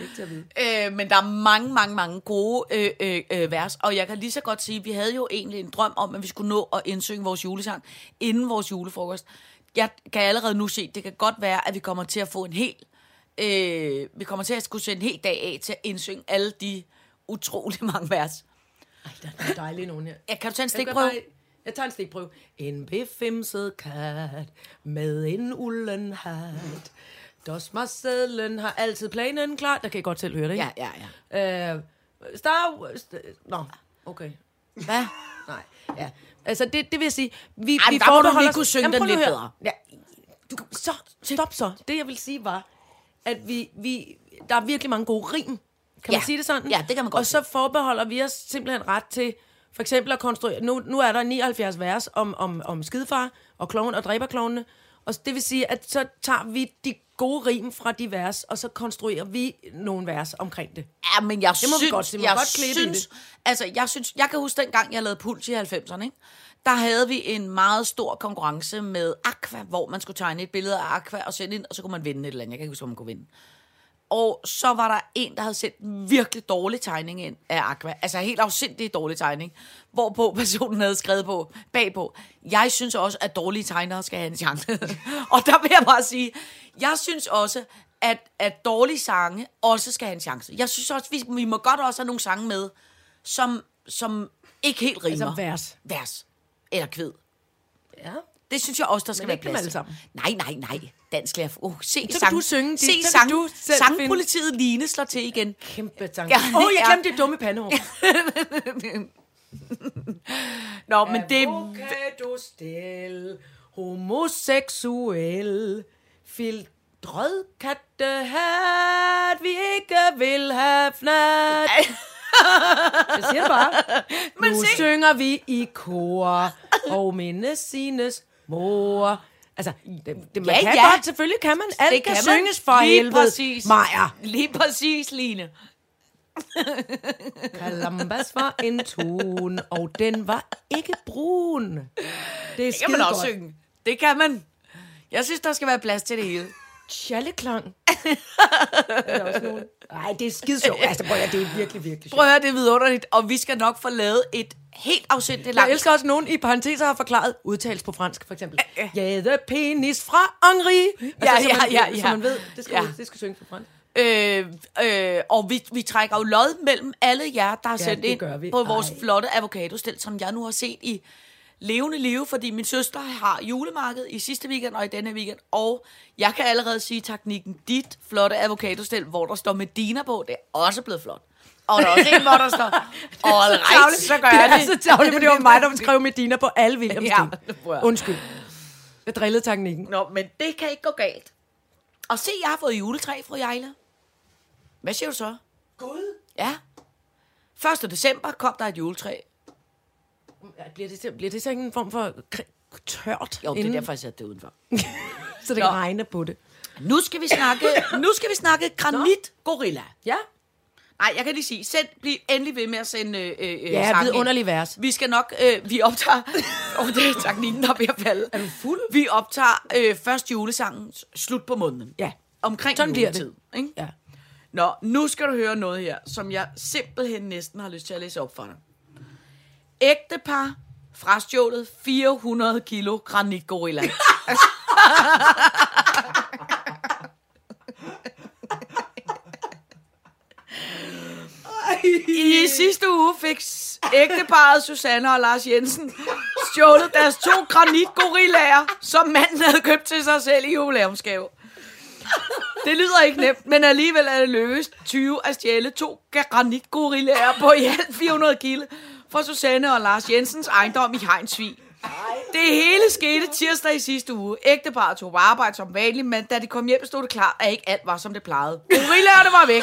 S2: [LAUGHS] Øh, men der er mange, mange, mange gode øh, øh, øh, vers, og jeg kan lige så godt sige, vi havde jo egentlig en drøm om, at vi skulle nå at indsynge vores julesang inden vores julefrokost. Jeg kan allerede nu se, det kan godt være, at vi kommer til at få en hel, øh, vi kommer til at skulle sætte en hel dag af til at indsynge alle de utrolig mange vers.
S3: Ej, der er nogle dejlige nogen her.
S2: Ja, kan du tage en
S3: Jeg gør
S2: stikprøve?
S3: bare- Jeg tager en stikprøve. En befimset kat med en ulden hat. Dosmarsedlen har altid planen klar. Der kan I godt selv høre det,
S2: Ja,
S3: ikke?
S2: ja, ja.
S3: Ja. Øh, Star... Wars- Nå, okay.
S2: Hvad?
S3: [LAUGHS] Nej, ja. Altså, det, det vil jeg sige... Vi,
S2: Ej,
S3: vi
S2: der må du
S3: forbeholder
S2: lige
S3: os-
S2: kunne synge
S3: Jamen,
S2: den
S3: prøv nu
S2: lidt
S3: at
S2: bedre.
S3: høre. Ja, du, så, stop så. Det, jeg vil sige, var, at vi, vi, der er virkelig mange gode rim. Kan
S2: Ja.
S3: man sige det sådan?
S2: Ja, det kan man godt
S3: Og så forbeholder vi os simpelthen ret til, for eksempel at konstruere... Nu, nu er der 79 vers om, om, om skidefar og kloven og dræberklovene, Og det vil sige, at så tager vi de gode rim fra de vers, og så konstruerer vi nogle vers omkring det.
S2: Ja, men jeg
S3: Det må vi
S2: synes,
S3: godt- det må vi
S2: jeg
S3: godt klippe i
S2: synes, altså, jeg synes, jeg kan huske dengang, jeg lavede Puls i 90'erne, ikke? der havde vi en meget stor konkurrence med Aqua, hvor man skulle tegne et billede af Aqua og sende ind, og så kunne man vinde et eller andet. Jeg kan ikke huske, hvor man kunne vinde. Og så var der en, der havde sendt en virkelig dårlig tegning ind af Aqua. Altså helt afsindig dårlig tegning. Hvorpå personen havde skrevet på bagpå. Jeg synes også, at dårlige tegnere skal have en chance. [LAUGHS] og der vil jeg bare sige, jeg synes også, at, at dårlige sange også skal have en chance. Jeg synes også, vi, vi må godt også have nogle sange med, som, som ikke helt rimer.
S3: Altså vers.
S2: Vers. Eller kvid.
S3: Ja.
S2: Det synes jeg også, der skal
S3: Men
S2: være
S3: ikke dem
S2: plads
S3: alle
S2: til. Nej, nej, nej. Dansk lærer. Uh, se
S3: kan
S2: sang.
S3: du synge de-
S2: Se
S3: så kan
S2: sang.
S3: du selv finde-
S2: Sangpolitiet Line slår til igen.
S3: Kæmpe tanke.
S2: Ja,
S3: Åh, oh, jeg
S2: ja.
S3: glemte det dumme pandehår.
S2: Nå, men det...
S3: Avocado stil, homoseksuel, filtret kattehat, vi ikke vil have fnat. [LAUGHS] Jeg siger det bare. Men nu
S2: se.
S3: synger vi i kor, og mindes sines mor. Altså, det, det, man
S2: Ja,
S3: kan
S2: ja.
S3: godt, selvfølgelig kan man. Alt
S2: Det
S3: det kan,
S2: kan
S3: kan
S2: man.
S3: synges for
S2: Lige
S3: helvede.
S2: præcis.
S3: Maja.
S2: Lige præcis, Line.
S3: Kalambas var en tun, og den var ikke brun. Det er det
S2: Kan man også synge? Det kan man. Jeg synes, der skal være plads til det [LAUGHS] hele.
S3: [LAUGHS] Tjalleklang. Nej, det er skide sjovt. Altså, prøv at, høre, det er virkelig, virkelig sjovt.
S2: Prøv at høre, det er vidunderligt, og vi skal nok få lavet et helt afsindigt
S3: Jeg
S2: langt...
S3: elsker også, at nogen i parenteser har forklaret udtales på fransk, for eksempel. Jade penis fra Henri. Altså,
S2: Ja,
S3: så man,
S2: ja, ja,
S3: Så
S2: ja.
S3: man ved, det skal,
S2: Ja.
S3: det skal synge på fransk.
S2: Øh, øh, og vi, vi trækker jo lod mellem alle jer, der har
S3: Ja,
S2: ja, sendt
S3: det
S2: ind
S3: gør vi.
S2: på vores
S3: Ej.
S2: flotte avocadostel, som jeg nu har set i levende live, fordi min søster har julemarked i sidste weekend og i denne weekend, og jeg kan allerede sige teknikken dit flotte avocadostel, hvor der står Medina på, det er også blevet flot. Og der er også en, hvor der
S3: [LAUGHS]
S2: står, all right, så gør jeg
S3: Det er
S2: det.
S3: så tavligt, for det var mig, der skrev med Dina på alle Williams
S2: Ja, det prøver
S3: ja,
S2: jeg.
S3: Undskyld. Jeg drillede teknikken.
S2: Nå, men det kan ikke gå galt. Og se, jeg har fået juletræ, fru Jejle. Hvad siger du så? Gud. Ja. 1. december kom der et juletræ.
S3: Bliver det, så- bliver det så ikke en form for kri- tørt,
S2: Jo, det
S3: inden,
S2: er derfor, jeg satte det udenfor.
S3: så det kan
S2: Nå.
S3: regne på det?
S2: Nu skal vi snakke, [LAUGHS] nu skal vi snakke granit gorilla.
S3: Ja.
S2: Nej, jeg kan lige sige, send, bliv endelig ved med at sende øh, øh,
S3: Ja,
S2: sange ind.
S3: vidunderlig vers.
S2: Vi skal nok, øh, vi [LAUGHS] optager, oh, det er teknikken, der er ved at falde. Er du fuld? Vi optager øh, først julesangen, s- slut på måneden.
S3: Ja.
S2: Omkring
S3: Sådan bliver det.
S2: juletid, Ikke?
S3: Ja.
S2: Nå, nu skal du høre noget her, som jeg simpelthen næsten har lyst til at læse op for dig. Ægtepar frastjålet 400 kilo granitgorilla. I sidste uge fik s- ægteparret Susanne og Lars Jensen stjålet deres to granitgorillaer, som manden havde købt til sig selv i jubilæumsgave. Det lyder ikke nemt, men alligevel er det lykkedes 20 at stjæle to granitgorillaer på i alt 400 kilo fra Susanne og Lars Jensens ejendom i Heinsvig. Det hele skete tirsdag i sidste uge. Ægteparret tog på arbejde som vanligt, men da de kom hjem, stod det klart, at ikke alt var, som det plejede. Gorillaerne var væk.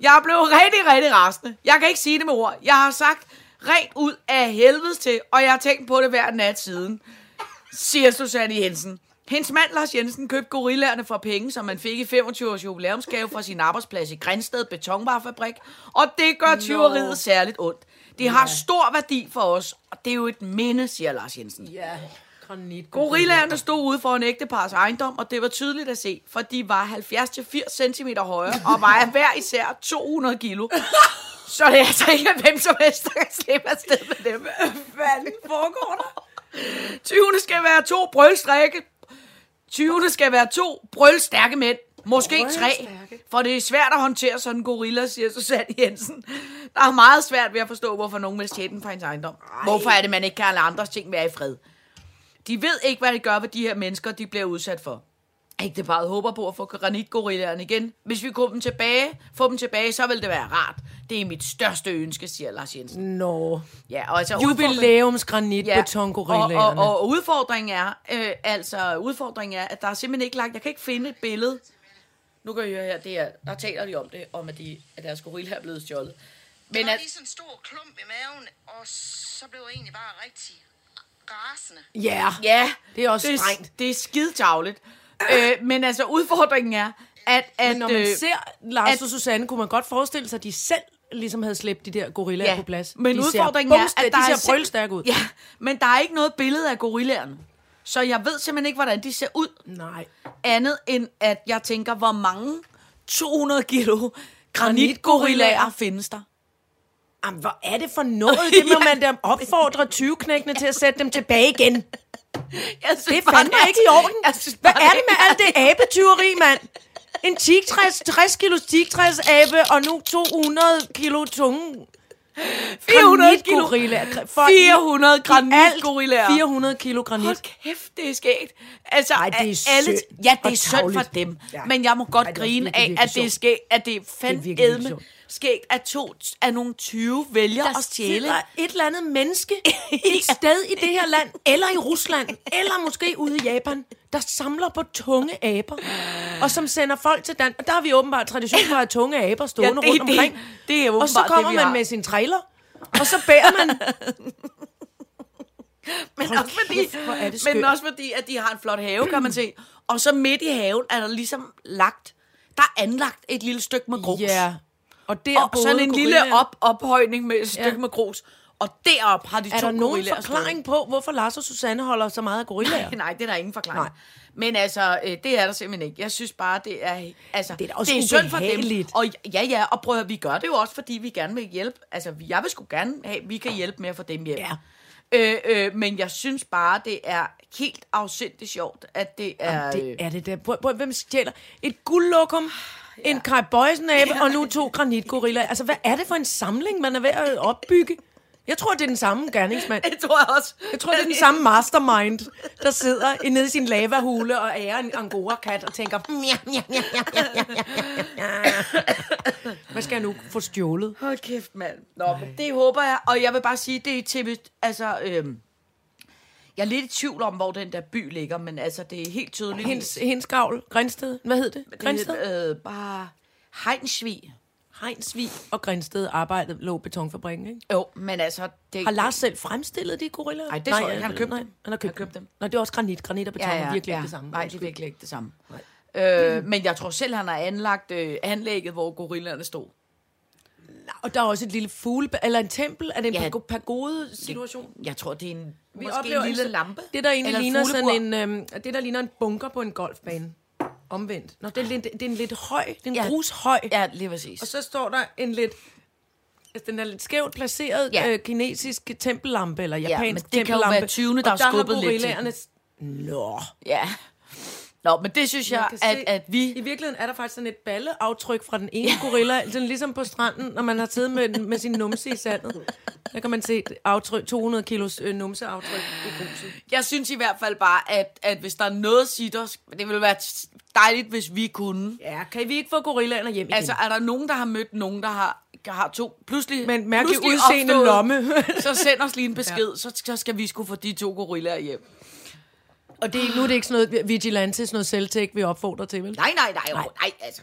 S2: Jeg blev rigtig, rigtig rasende. Jeg kan ikke sige det med ord. Jeg har sagt rent ud af helvedes til, og jeg har tænkt på det hver nat siden siger Susanne Jensen. Hendes mand, Lars Jensen, købte gorillaerne for penge, som man fik i 25-års jubilæumsgave fra sin arbejdsplads i Grænsted Betonvarefabrik, og det gør tyveriet no. særligt ondt. Det har stor værdi for os, og det er jo et minde, siger Lars Jensen.
S3: Ja. Granit.
S2: Gorillaerne stod ude for en ægtepars ejendom, og det var tydeligt at se, for de var 70-80 cm høje og vejer hver især 200 kilo. Så det er altså ikke hvem som helst, der kan slippe afsted med dem. Hvad foregår der? 20. skal være to brølstrække. 20. skal være to brølstærke mænd. Måske tre, for det er svært at håndtere sådan en gorilla, siger Susanne Jensen. Der er meget svært ved at forstå, hvorfor nogen vil stjæle den fra ens ejendom. Hvorfor er det, man ikke kan lade andres ting være i fred? De ved ikke, hvad de gør ved de her mennesker, de bliver udsat for. Ægteparret håber på at få granitgorillaen igen. Hvis vi kunne dem tilbage, få dem tilbage, så vil det være rart. Det er mit største ønske, siger Lars
S3: Mm.
S2: Jensen.
S3: Nå.
S2: Ja, og altså
S3: Jubilæumsgranit ja.
S2: og, og, og udfordringen er, øh, altså udfordringen er, at der er simpelthen ikke lagt, jeg kan ikke finde et billede. Nu kan I høre her, det er, der taler de om det, om at, de, at deres gorilla er blevet stjålet. Men
S5: Der var
S2: at,
S5: lige sådan en stor klump i maven, og så blev jeg egentlig bare rigtig,
S4: rasende.
S2: Ja. Ja.
S3: Det er også
S2: det er,
S3: strengt.
S2: Det er skidetavligt. øh, men altså, udfordringen er, at... at
S3: Men når man
S2: øh,
S3: ser Lars
S2: at-
S3: og Susanne, kunne man godt forestille sig, at de selv ligesom havde slæbt de der gorillaer
S2: Ja,
S3: på plads.
S2: men
S3: de
S2: udfordringen er,
S3: bumste-
S2: at der
S3: de
S2: er
S3: ser
S2: selv-
S3: brølstærke ud.
S2: Ja, men der er ikke noget billede af gorillaerne. Så jeg ved simpelthen ikke, hvordan de ser ud.
S3: Nej.
S2: Andet end, at jeg tænker, hvor mange 200 kilo granitgorillaer findes der?
S3: Jamen, hvor er det for noget? Det
S2: [LAUGHS]
S3: må man da opfordre 20-knækkene til at sætte dem tilbage igen.
S2: Jeg synes,
S3: Det er fandme
S2: bare,
S3: ikke i orden.
S2: Jeg synes,
S3: Hvad
S2: bare,
S3: er det med alt det abetyveri, mand? En 60, 60 kilos 60 abe, og nu 200 kilo tunge
S2: 400 kilo.
S3: granitgorillaer. For i-
S2: 400
S3: alt
S2: granitgorillaer.
S3: 400 kilo granit.
S2: Hold kæft, det er skægt. Altså, Ej,
S3: det er synd
S2: Ja, det er
S3: og
S2: synd for
S3: tarveligt.
S2: dem. Ja.
S3: Ja.
S2: Men jeg må godt
S3: Ej, det er også
S2: grine
S3: virkelig, virkelig
S2: af, at det er
S3: sjovt.
S2: skægt, at det er
S3: virkelig, virkelig
S2: fandme
S3: sjovt.
S2: skægt, at, to, at nogle 20 vælger
S3: der
S2: at stjæle.
S3: sidder et eller andet
S2: [LAUGHS]
S3: menneske et sted i det her land, eller i Rusland, eller måske ude i Japan, der samler på tunge aber, og som sender folk til Dan. Og der har vi åbenbart tradition for at have tunge aber stående
S2: det-
S3: rundt
S2: det-
S3: omkring.
S2: det er
S3: og så
S2: åbenbart
S3: kommer
S2: det, vi
S3: man
S2: har.
S3: med sin trailer, og så bærer man...
S2: Men
S3: Hold
S2: også, fordi,
S3: kæft, hvor er det
S2: men
S3: skørt.
S2: også fordi, at de har en flot have, kan man se. Og så midt i haven er der ligesom lagt, der er anlagt et lille stykke med grus.
S3: Ja, og der
S2: Og sådan en lille op, ophøjning med et stykke
S3: Ja.
S2: med grus. Og derop har de
S3: Er
S2: to
S3: der nogen
S2: gorillaer stået.
S3: forklaring på, hvorfor Lars og Susanne holder så meget af gorillaer?
S2: [LAUGHS] Nej, nej, det er der ingen forklaring. Nej.
S3: Nej.
S2: Men altså, øh, det er der simpelthen ikke. Jeg synes bare, det er, altså,
S3: Det er da også
S2: synd for dem.
S3: ubehageligt.
S2: Og ja, ja, og prøv at høre, vi gør det jo også, fordi vi gerne vil hjælpe. Altså, vi- jeg vil sgu gerne have, vi kan hjælpe med at få dem hjem.
S3: Ja.
S2: Øh, øh, men jeg synes bare, det er helt afsindigt sjovt, at det er...
S3: Jamen,
S2: øh,
S3: det er det der. Prøv, prøv, hvem stjæler? Et guldlokum, ja. en Kai Boysen abe og nu to granitgorillaer. Altså, hvad er det for en samling, man er ved at opbygge? Jeg tror, det er den samme gerningsmand.
S2: det tror [LAUGHS] jeg også.
S3: Jeg tror, det
S2: [LAUGHS]
S3: er den samme mastermind, der sidder nede i sin lavahule og ærer en angora-kat og tænker, "Hmm, ja, ja, ja, ja, ja, ja, ja, ja, ja." hvad skal jeg nu få stjålet?
S2: Hold kæft, mand. Nå, men det håber jeg. Og jeg vil bare sige, det er tippet, altså... Øhm, jeg er lidt i tvivl om, hvor den der by ligger, men altså, det er helt tydeligt.
S3: Hendes, hendes gavl, Grænsted, hvad hed det? Grænsted?
S2: Det, øh, bare Heinsvig.
S3: Regnsvig og Grænsted arbejdede lå betonfabrikken, ikke?
S2: Jo, men altså... Det,
S3: Har Lars selv fremstillet de gorillaer?
S2: Nej, det tror jeg ikke. Han har købt
S3: nej,
S2: dem.
S3: Han har købt,
S2: Han har købt
S3: dem.
S2: dem.
S3: Nå, det er også granit. Granit og beton ja, ja, er virkelig ikke det samme.
S2: Nej, det er
S3: Undskyld.
S2: virkelig ikke det samme. Øh, men jeg tror selv, han har anlagt øh, anlægget, hvor gorillaerne stod.
S3: Og der er også et lille fugle... Eller en tempel. Er det en
S2: Ja.
S3: ja. pagode-situation?
S2: Jeg tror, det er en,
S3: Vi
S2: vi måske en lille
S3: altså-
S2: lampe.
S3: Det, der egentlig
S2: Eller en
S3: ligner sådan
S2: fuglebur.
S3: en... Øhm, det, der ligner en bunker på en golfbane. Omvendt. Nå, det er, lidt, det er en lidt høj... Det er en
S2: Ja.
S3: ja. grushøj.
S2: Ja, lige præcis.
S3: Og så står der en lidt... Altså, den er lidt skævt placeret
S2: Ja.
S3: ja. øh, kinesisk tempellampe, eller
S2: men
S3: japansk
S2: det kan jo
S3: tempellampe.
S2: være tyvene, der
S3: Og
S2: har skubbet lidt til
S3: lidt til. Nå.
S2: Ja. Nå, men det synes jeg,
S3: Man kan se-
S2: at, at vi...
S3: I virkeligheden er der faktisk sådan et balleaftryk fra den ene gorilla, sådan ligesom på stranden, når man har siddet med, med sin numse i sandet. Der kan man se et aftryk, 200 kilos øh, numseaftryk i gruset.
S2: Jeg synes i hvert fald bare, at, at hvis der er noget sitter, det ville være dejligt, hvis vi kunne.
S3: Ja, kan vi ikke få gorillaerne hjem igen?
S2: Altså, er der nogen, der har mødt nogen, der har, har to pludselig...
S3: Men mærkelig
S2: pludselig
S3: udseende
S2: opstået-
S3: lomme.
S2: [LAUGHS] så send os lige en besked, ja. så, så skal vi sgu få de to gorillaer hjem.
S3: og det, nu er det ikke sådan noget vigilante, sådan noget selvtæk, vi opfordrer til, vel?
S2: Nej, nej, nej, nej,
S3: Nej.
S2: nej altså...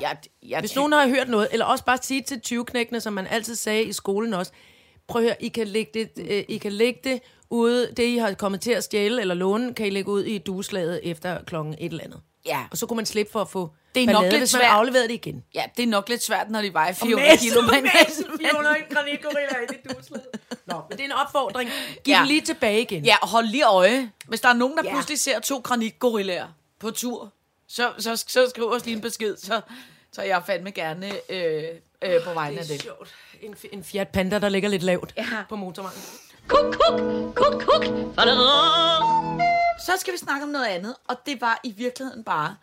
S2: Jeg, jeg,
S3: Hvis nogen har hørt noget, eller også bare sige til 20 knækkene, som man altid sagde i skolen også, prøv at høre, I kan lægge det, øh, I kan lægge det ude, det I har kommet til at stjæle eller låne, kan I lægge ud i dueslaget efter klokken et eller andet.
S2: Ja.
S3: Og så kunne man slippe for at få
S2: Det er nok
S3: ballade,
S2: lidt
S3: hvis man
S2: svært.
S3: afleverede det igen.
S2: ja, det er nok lidt svært, når de vejer 400 [LAUGHS] kilo. Men,
S3: granitgorillaer i det dueslag. Nå, men det er en opfordring. Giv
S2: Ja.
S3: ja. dem lige tilbage igen.
S2: ja, og hold lige øje. Hvis der er nogen, der ja.
S3: Ja.
S2: pludselig ser to granitgorillaer på tur, så, så, så skriv os lige en besked, så, så jeg fandme gerne øh, øh, på vegne af det.
S3: sjovt. En, f- en Fiat Panda, der ligger lidt lavt
S2: Ja.
S3: ja. på motorvejen.
S4: Kuk, kuk, kuk, kuk.
S2: Så skal vi snakke om noget andet, og det var i virkeligheden bare,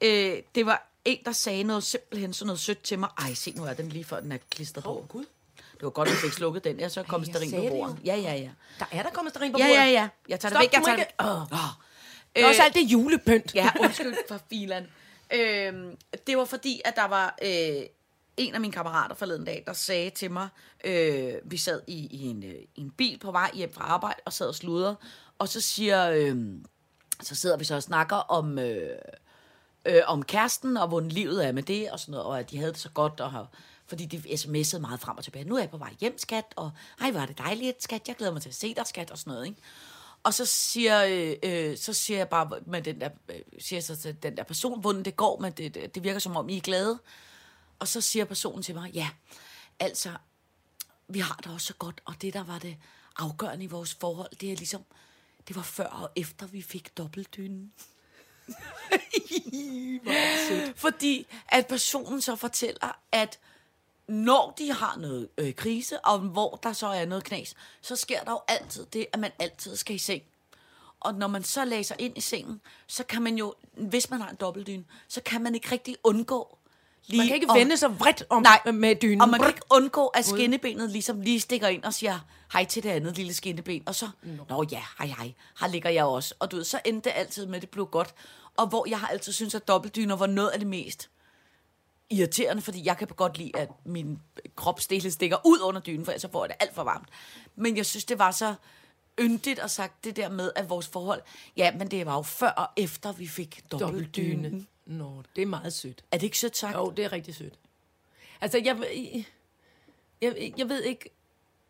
S2: øh, det var en, der sagde noget simpelthen sådan noget sødt til mig. Ej, se nu er den lige før den er klistret på. Åh, Gud. Det var godt, vi fik slukket den. Jeg så kom
S3: jeg
S2: sterin på
S3: sagde det jo.
S2: bordet. Ja, ja, ja.
S3: Der er der kommet sterin på
S2: Ja,
S3: bordet.
S2: ja, ja. Jeg tager det
S3: Stop,
S2: væk, jeg
S3: du må
S2: tager det
S3: ikke-
S2: væk. Åh.
S3: Der er også
S2: Øh,
S3: alt det julepynt. [LAUGHS]
S2: Ja, undskyld for filan. Øhm, det var fordi, at der var øh, en af mine kammerater forleden dag, der sagde til mig, øh, vi sad i, i en, øh, i en bil på vej hjem fra arbejde og sad og sludrede, og så siger, øh, så sidder vi så og snakker om, øh, øh, om kæresten og hvordan livet er med det og sådan noget, og at de havde det så godt og har fordi de sms'ede meget frem og tilbage. Nu er jeg på vej hjem, skat, og hej, hvor er det dejligt, skat, jeg glæder mig til at se dig, skat, og sådan noget, ikke? Og så siger, øh, øh, så siger jeg bare med den der, øh, siger jeg så til den der person, hvordan det går, men det, det, det virker som om, I er glade. Og så siger personen til mig, ja, altså, vi har det også så godt, og det, der var det afgørende i vores forhold, det er ligesom, det var før og efter, vi fik
S3: [LAUGHS]
S2: dobbeltdynen. Fordi at personen så fortæller, at når de har noget øh, krise, og hvor der så er noget knas, så sker der jo altid det, at man altid skal i seng. Og når man så læser ind i sengen, så kan man jo, hvis man har en dobbeltdyne, så kan man ikke rigtig undgå lige
S3: Man kan ikke
S2: at-
S3: vende sig vredt om
S2: Nej,
S3: med dynen.
S2: og man kan ikke undgå, at skinnebenet ligesom lige stikker ind og siger hej til det andet lille skinneben. Og så, nå, ja, hej hej, her ligger jeg også. Og du ved, så endte det altid med, at det blev godt. Og hvor jeg har altid synes at dobbeltdyner var noget af det mest irriterende, fordi jeg kan godt lide, at min kropsdele stikker ud under dynen, for ellers så får jeg det alt for varmt. Men jeg synes, det var så yndigt og sagt det der med, at vores forhold, ja, men det var jo før og efter, vi fik dobbeltdyne.
S3: Dobbeltdyne. Nå, det er meget sødt.
S2: Er det ikke sødt sagt?
S3: Jo, det er rigtig sødt. Altså, jeg, jeg, jeg ved ikke...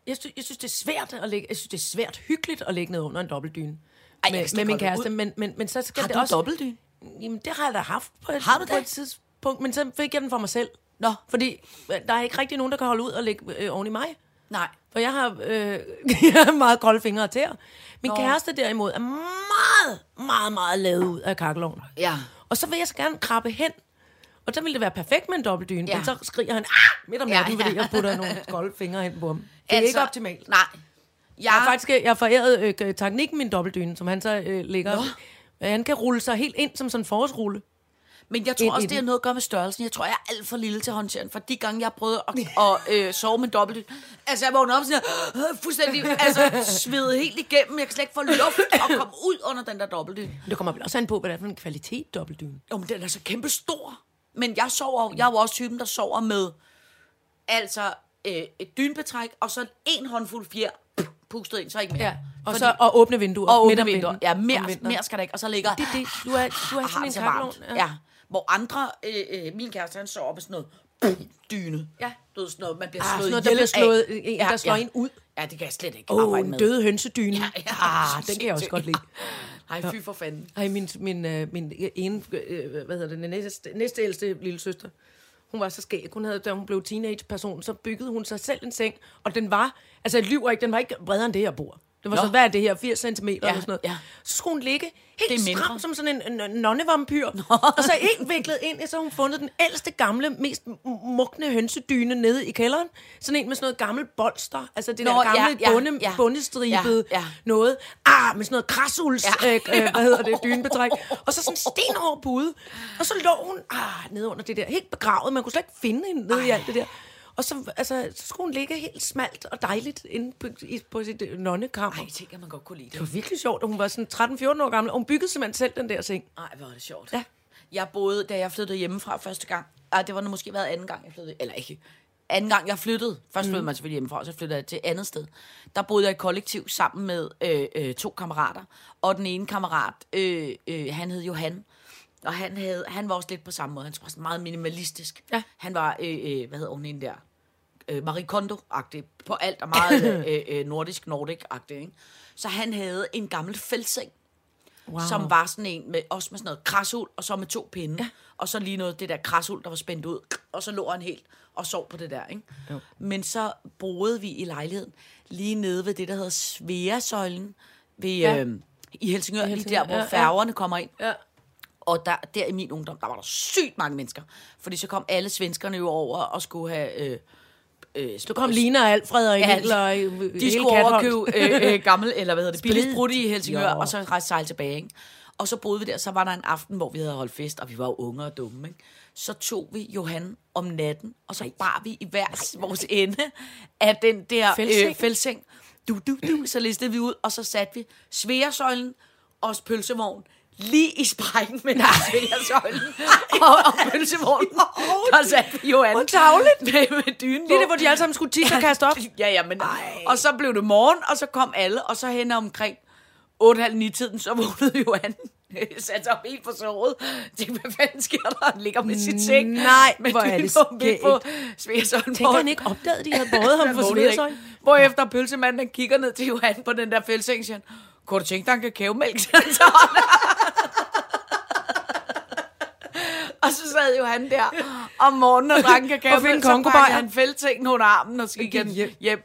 S3: Jeg synes, jeg synes, det er svært at lægge, jeg synes, det er svært hyggeligt at lægge ned under en dobbeltdyne.
S2: Ej, jeg
S3: med,
S2: skal
S3: med min
S2: godt ud.
S3: kæreste, men, men, men så skal
S2: Har
S3: det
S2: du
S3: også...
S2: dobbeltdyne?
S3: Jamen, det har jeg da haft på et,
S2: Har du
S3: på
S2: det?
S3: et tidspunkt, men så fik jeg den for mig selv.
S2: Nå.
S3: Fordi øh, der er ikke rigtig nogen, der kan holde ud og lægge øh, oven i mig.
S2: Nej.
S3: For jeg har, øh, [LAUGHS] jeg har meget kolde fingre og tæer. Min
S2: Nå.
S3: Nå. kæreste derimod er meget, meget, meget lavet ud af kakkeloven.
S2: Ja.
S3: Og så vil jeg så gerne krabbe hen. Og så ville det være perfekt med en dobbeltdyne.
S2: Ja.
S3: Ja. Men så skriger han, ah, midt om
S2: Ja,
S3: natten, ja, ja. fordi
S2: ja.
S3: jeg putter
S2: [LAUGHS]
S3: nogle kolde fingre hen på ham. Det er altså, ikke optimalt.
S2: Nej. Jeg,
S3: Jeg har faktisk jeg har foræret øh, teknikken min dobbeltdyne, som han så øh, ligger. Nå. Han kan rulle sig helt ind som sådan en forårsrulle.
S2: men jeg
S3: ind
S2: tror
S3: i
S2: også, det
S3: den.
S2: har noget at gøre med størrelsen. Jeg tror, jeg er alt for lille til håndtering, for de gange, jeg har prøvet at, at øh, sove med dobbelt... Altså, jeg vågner op sådan her, øh, fuldstændig altså, svedet helt igennem. Jeg kan slet ikke få luft og komme ud under den der dobbelt.
S3: Men det kommer vel også an på, hvad det er for en kvalitet dobbeltdyne.
S2: Jo, men den er så kæmpe stor. Men jeg sover jo- jeg er jo også typen, der sover med altså øh, et dynbetræk, og så en håndfuld fjer puh, pustet ind, så ikke mere.
S3: Ja. Og,
S2: Fordi-
S3: så, og åbne vinduer.
S2: og
S3: midt
S2: åbne
S3: om
S2: vinduer.
S3: vinteren.
S2: Ja,
S3: Om
S2: mere,
S3: vinteren.
S2: mere skal der ikke. Og så ligger...
S3: Det er det. Du er, du er
S2: og har
S3: sådan
S2: det
S3: en
S2: så varmt.
S3: kakkelovn.
S2: Ja. ja. Hvor andre, øh, øh, min kæreste, han sover på sådan noget pum, dyne.
S3: Ja.
S2: Du ved, sådan noget, man bliver
S3: Ah,
S2: ah,
S3: sådan
S2: slået
S3: noget, der
S2: ihjel
S3: bliver slået,
S2: af.
S3: en, der slår en ud.
S2: Ja, det kan jeg slet ikke
S3: Åh, oh,
S2: arbejde
S3: en
S2: med.
S3: død hønsedyne.
S2: [LAUGHS] Ja, ja.
S3: ah, den kan jeg også godt lide.
S2: [LAUGHS] Nej, fy for fanden.
S3: Ej, min, min, øh, min ene, øh, hvad hedder det, den næste, næste ældste lille søster, hun var så skæg. Hun havde, da hun blev teenage-person, så byggede hun sig selv en seng, og den var, altså jeg lyver ikke, den var ikke bredere end det, jeg bor. Det var
S2: Nå.
S3: så, hvad er det her, 80 cm ja, eller
S2: Ja,
S3: sådan noget.
S2: ja.
S3: Så skulle hun ligge
S2: Det er
S3: helt
S2: mindre.
S3: stram som sådan en, en nonnevampyr, og så helt viklet ind, og så har hun fundet den ældste, gamle, mest m- mugne hønsedyne nede i kælderen. Sådan en med sådan noget gammelt bolster, altså det
S2: Nå,
S3: der gamle
S2: ja, ja,
S3: bunde,
S2: ja.
S3: bundestribede
S2: Ja, ja.
S3: noget. Ah, med sådan noget krasuls,
S2: Ja.
S3: ja. øh, øh, hvad
S2: [LAUGHS]
S3: hedder det, dynebetræk. Og så sådan en stenhård pude. Og så lå hun ah, nede under det der, helt begravet. Man kunne slet ikke finde hende nede i alt det der. Og så, altså, så skulle hun ligge helt smalt og dejligt inde på, i, på sit øh, nonnekammer.
S2: Ej, tænk, at man godt kunne lide
S3: Det
S2: det.
S3: var virkelig sjovt, at hun var sådan 13-14 år gammel, og hun byggede simpelthen selv den der ting.
S2: Ej, hvor er det sjovt.
S3: Ja.
S2: Jeg boede, da jeg flyttede hjemmefra første gang. Ej, det var nu måske været anden gang, jeg flyttede. Eller ikke. Anden gang, jeg flyttede. Først
S3: Mm.
S2: flyttede man selvfølgelig hjemmefra, og så flyttede jeg til andet sted. Der boede jeg i kollektiv sammen med øh, øh, to kammerater. Og den ene kammerat, øh, øh, han hed Johan. Og han, havde, han var også lidt på samme måde. Han var sådan meget minimalistisk.
S3: Ja.
S2: Han var, øh, øh, hvad hedder hun hende der? øh, Marie Kondo-agtig på alt, og [LAUGHS] meget øh, øh, nordisk nordic agtig ikke? Så han havde en gammel fældseng, wow. som var sådan en, med, også med sådan noget krasul, og så med to pinde, ja. og så lige noget det der krasul, der var spændt ud, og så lå han helt og sov på det der. Ikke? Jo. Men så boede vi i lejligheden lige nede ved det, der hedder Sveasøjlen, ved, ja.
S3: Ja.
S2: øh, i Helsingør, lige
S3: Helsingør,
S2: der, hvor
S3: ja,
S2: ja,
S3: ja.
S2: færgerne kommer ind.
S3: Ja.
S2: Og der, der i min ungdom, der var der sygt mange mennesker. Fordi så kom alle svenskerne jo over og skulle have... Øh, øh,
S3: Så kom Lina og Alfred og
S2: Ja,
S3: Emil og øh,
S2: de
S3: hele
S2: skulle over og
S3: Katholt. [LAUGHS]
S2: købe øh, øh, gammel, eller hvad hedder det, billigt
S3: Sprit.
S2: brudt i Helsingør,
S3: Jo.
S2: og så rejste sejl tilbage, ikke? Og så boede vi der, så var der en aften, hvor vi havde holdt fest, og vi var jo unge og dumme, ikke? Så tog vi Johan om natten, og så bar vi i hver vores ende af den der
S3: Fældseng.
S2: øh, fældseng. Du, du, du, så listede vi ud, og så satte vi sværesøjlen og pølsevogn lige i sprækken med
S3: [LAUGHS]
S2: sværesøjlen og, og pølsevognen. Der satte vi Johan
S3: Hvor tarveligt.
S2: med, med dynen
S3: Lige der,
S2: på.
S3: hvor de alle sammen skulle tisse og kaste op.
S2: Ja, ja, men... Og så [LAUGHS] blev det morgen, og så kom alle, og så hen omkring 8.30-9-tiden, så vågnede Johan sat sig op helt på såret. Tænkte, hvad fanden sker der? Han ligger med sin ting.
S3: Nej,
S2: Men
S3: hvor er
S2: vi
S3: det
S2: lå midt
S3: skægt.
S2: på Smersholm.
S3: Tænker han ikke opdagede, at de havde båret ham
S2: Han
S3: for
S2: vågnede ikke.
S3: smidsøj?
S2: Hvorefter pølsemanden han kigger ned til Johan på den der fældseng, siger han, kunne du tænke dig en kakaomælk? Så [LAUGHS] han tager den. og så sad Johan der om morgenen [LAUGHS] og drak
S3: Og
S2: en
S3: fik en
S2: kakaomælk, så
S3: kongobajer.
S2: pakkede han fældsengen under armen og så gik
S3: gik
S2: han
S3: hjem.
S2: hjem.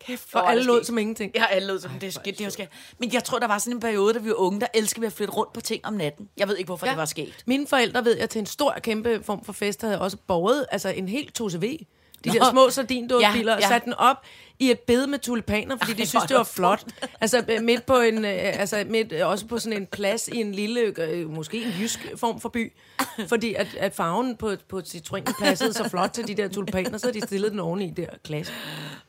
S2: Kæft, hvor
S3: Og
S2: er
S3: alle
S2: det
S3: lå
S2: skægt.
S3: som ingenting.
S2: Ja, alle lød som, det er skidt, det er skidt. Men jeg tror, der var sådan en periode, da vi var unge, der elskede vi at flytte rundt på ting om natten. Jeg ved ikke, hvorfor ja. det var sket.
S3: Mine forældre, ved jeg, til en stor, kæmpe form for fest, havde også borget altså en hel 2CV. De
S2: Nå.
S3: der små sardindåbiler,
S2: Ja,
S3: ja, ja.
S2: ja.
S3: og sat den op i et bed med tulipaner, fordi
S2: Ej,
S3: de synes,
S2: hvor
S3: det var
S2: er det
S3: flot. Altså øh, midt på en, øh, altså midt, øh, også på sådan en plads i en lille, øh, måske en jysk form for by. Fordi at, at farven på, på citronen passede så flot til de der tulipaner, så havde de stillet den oveni der klasse.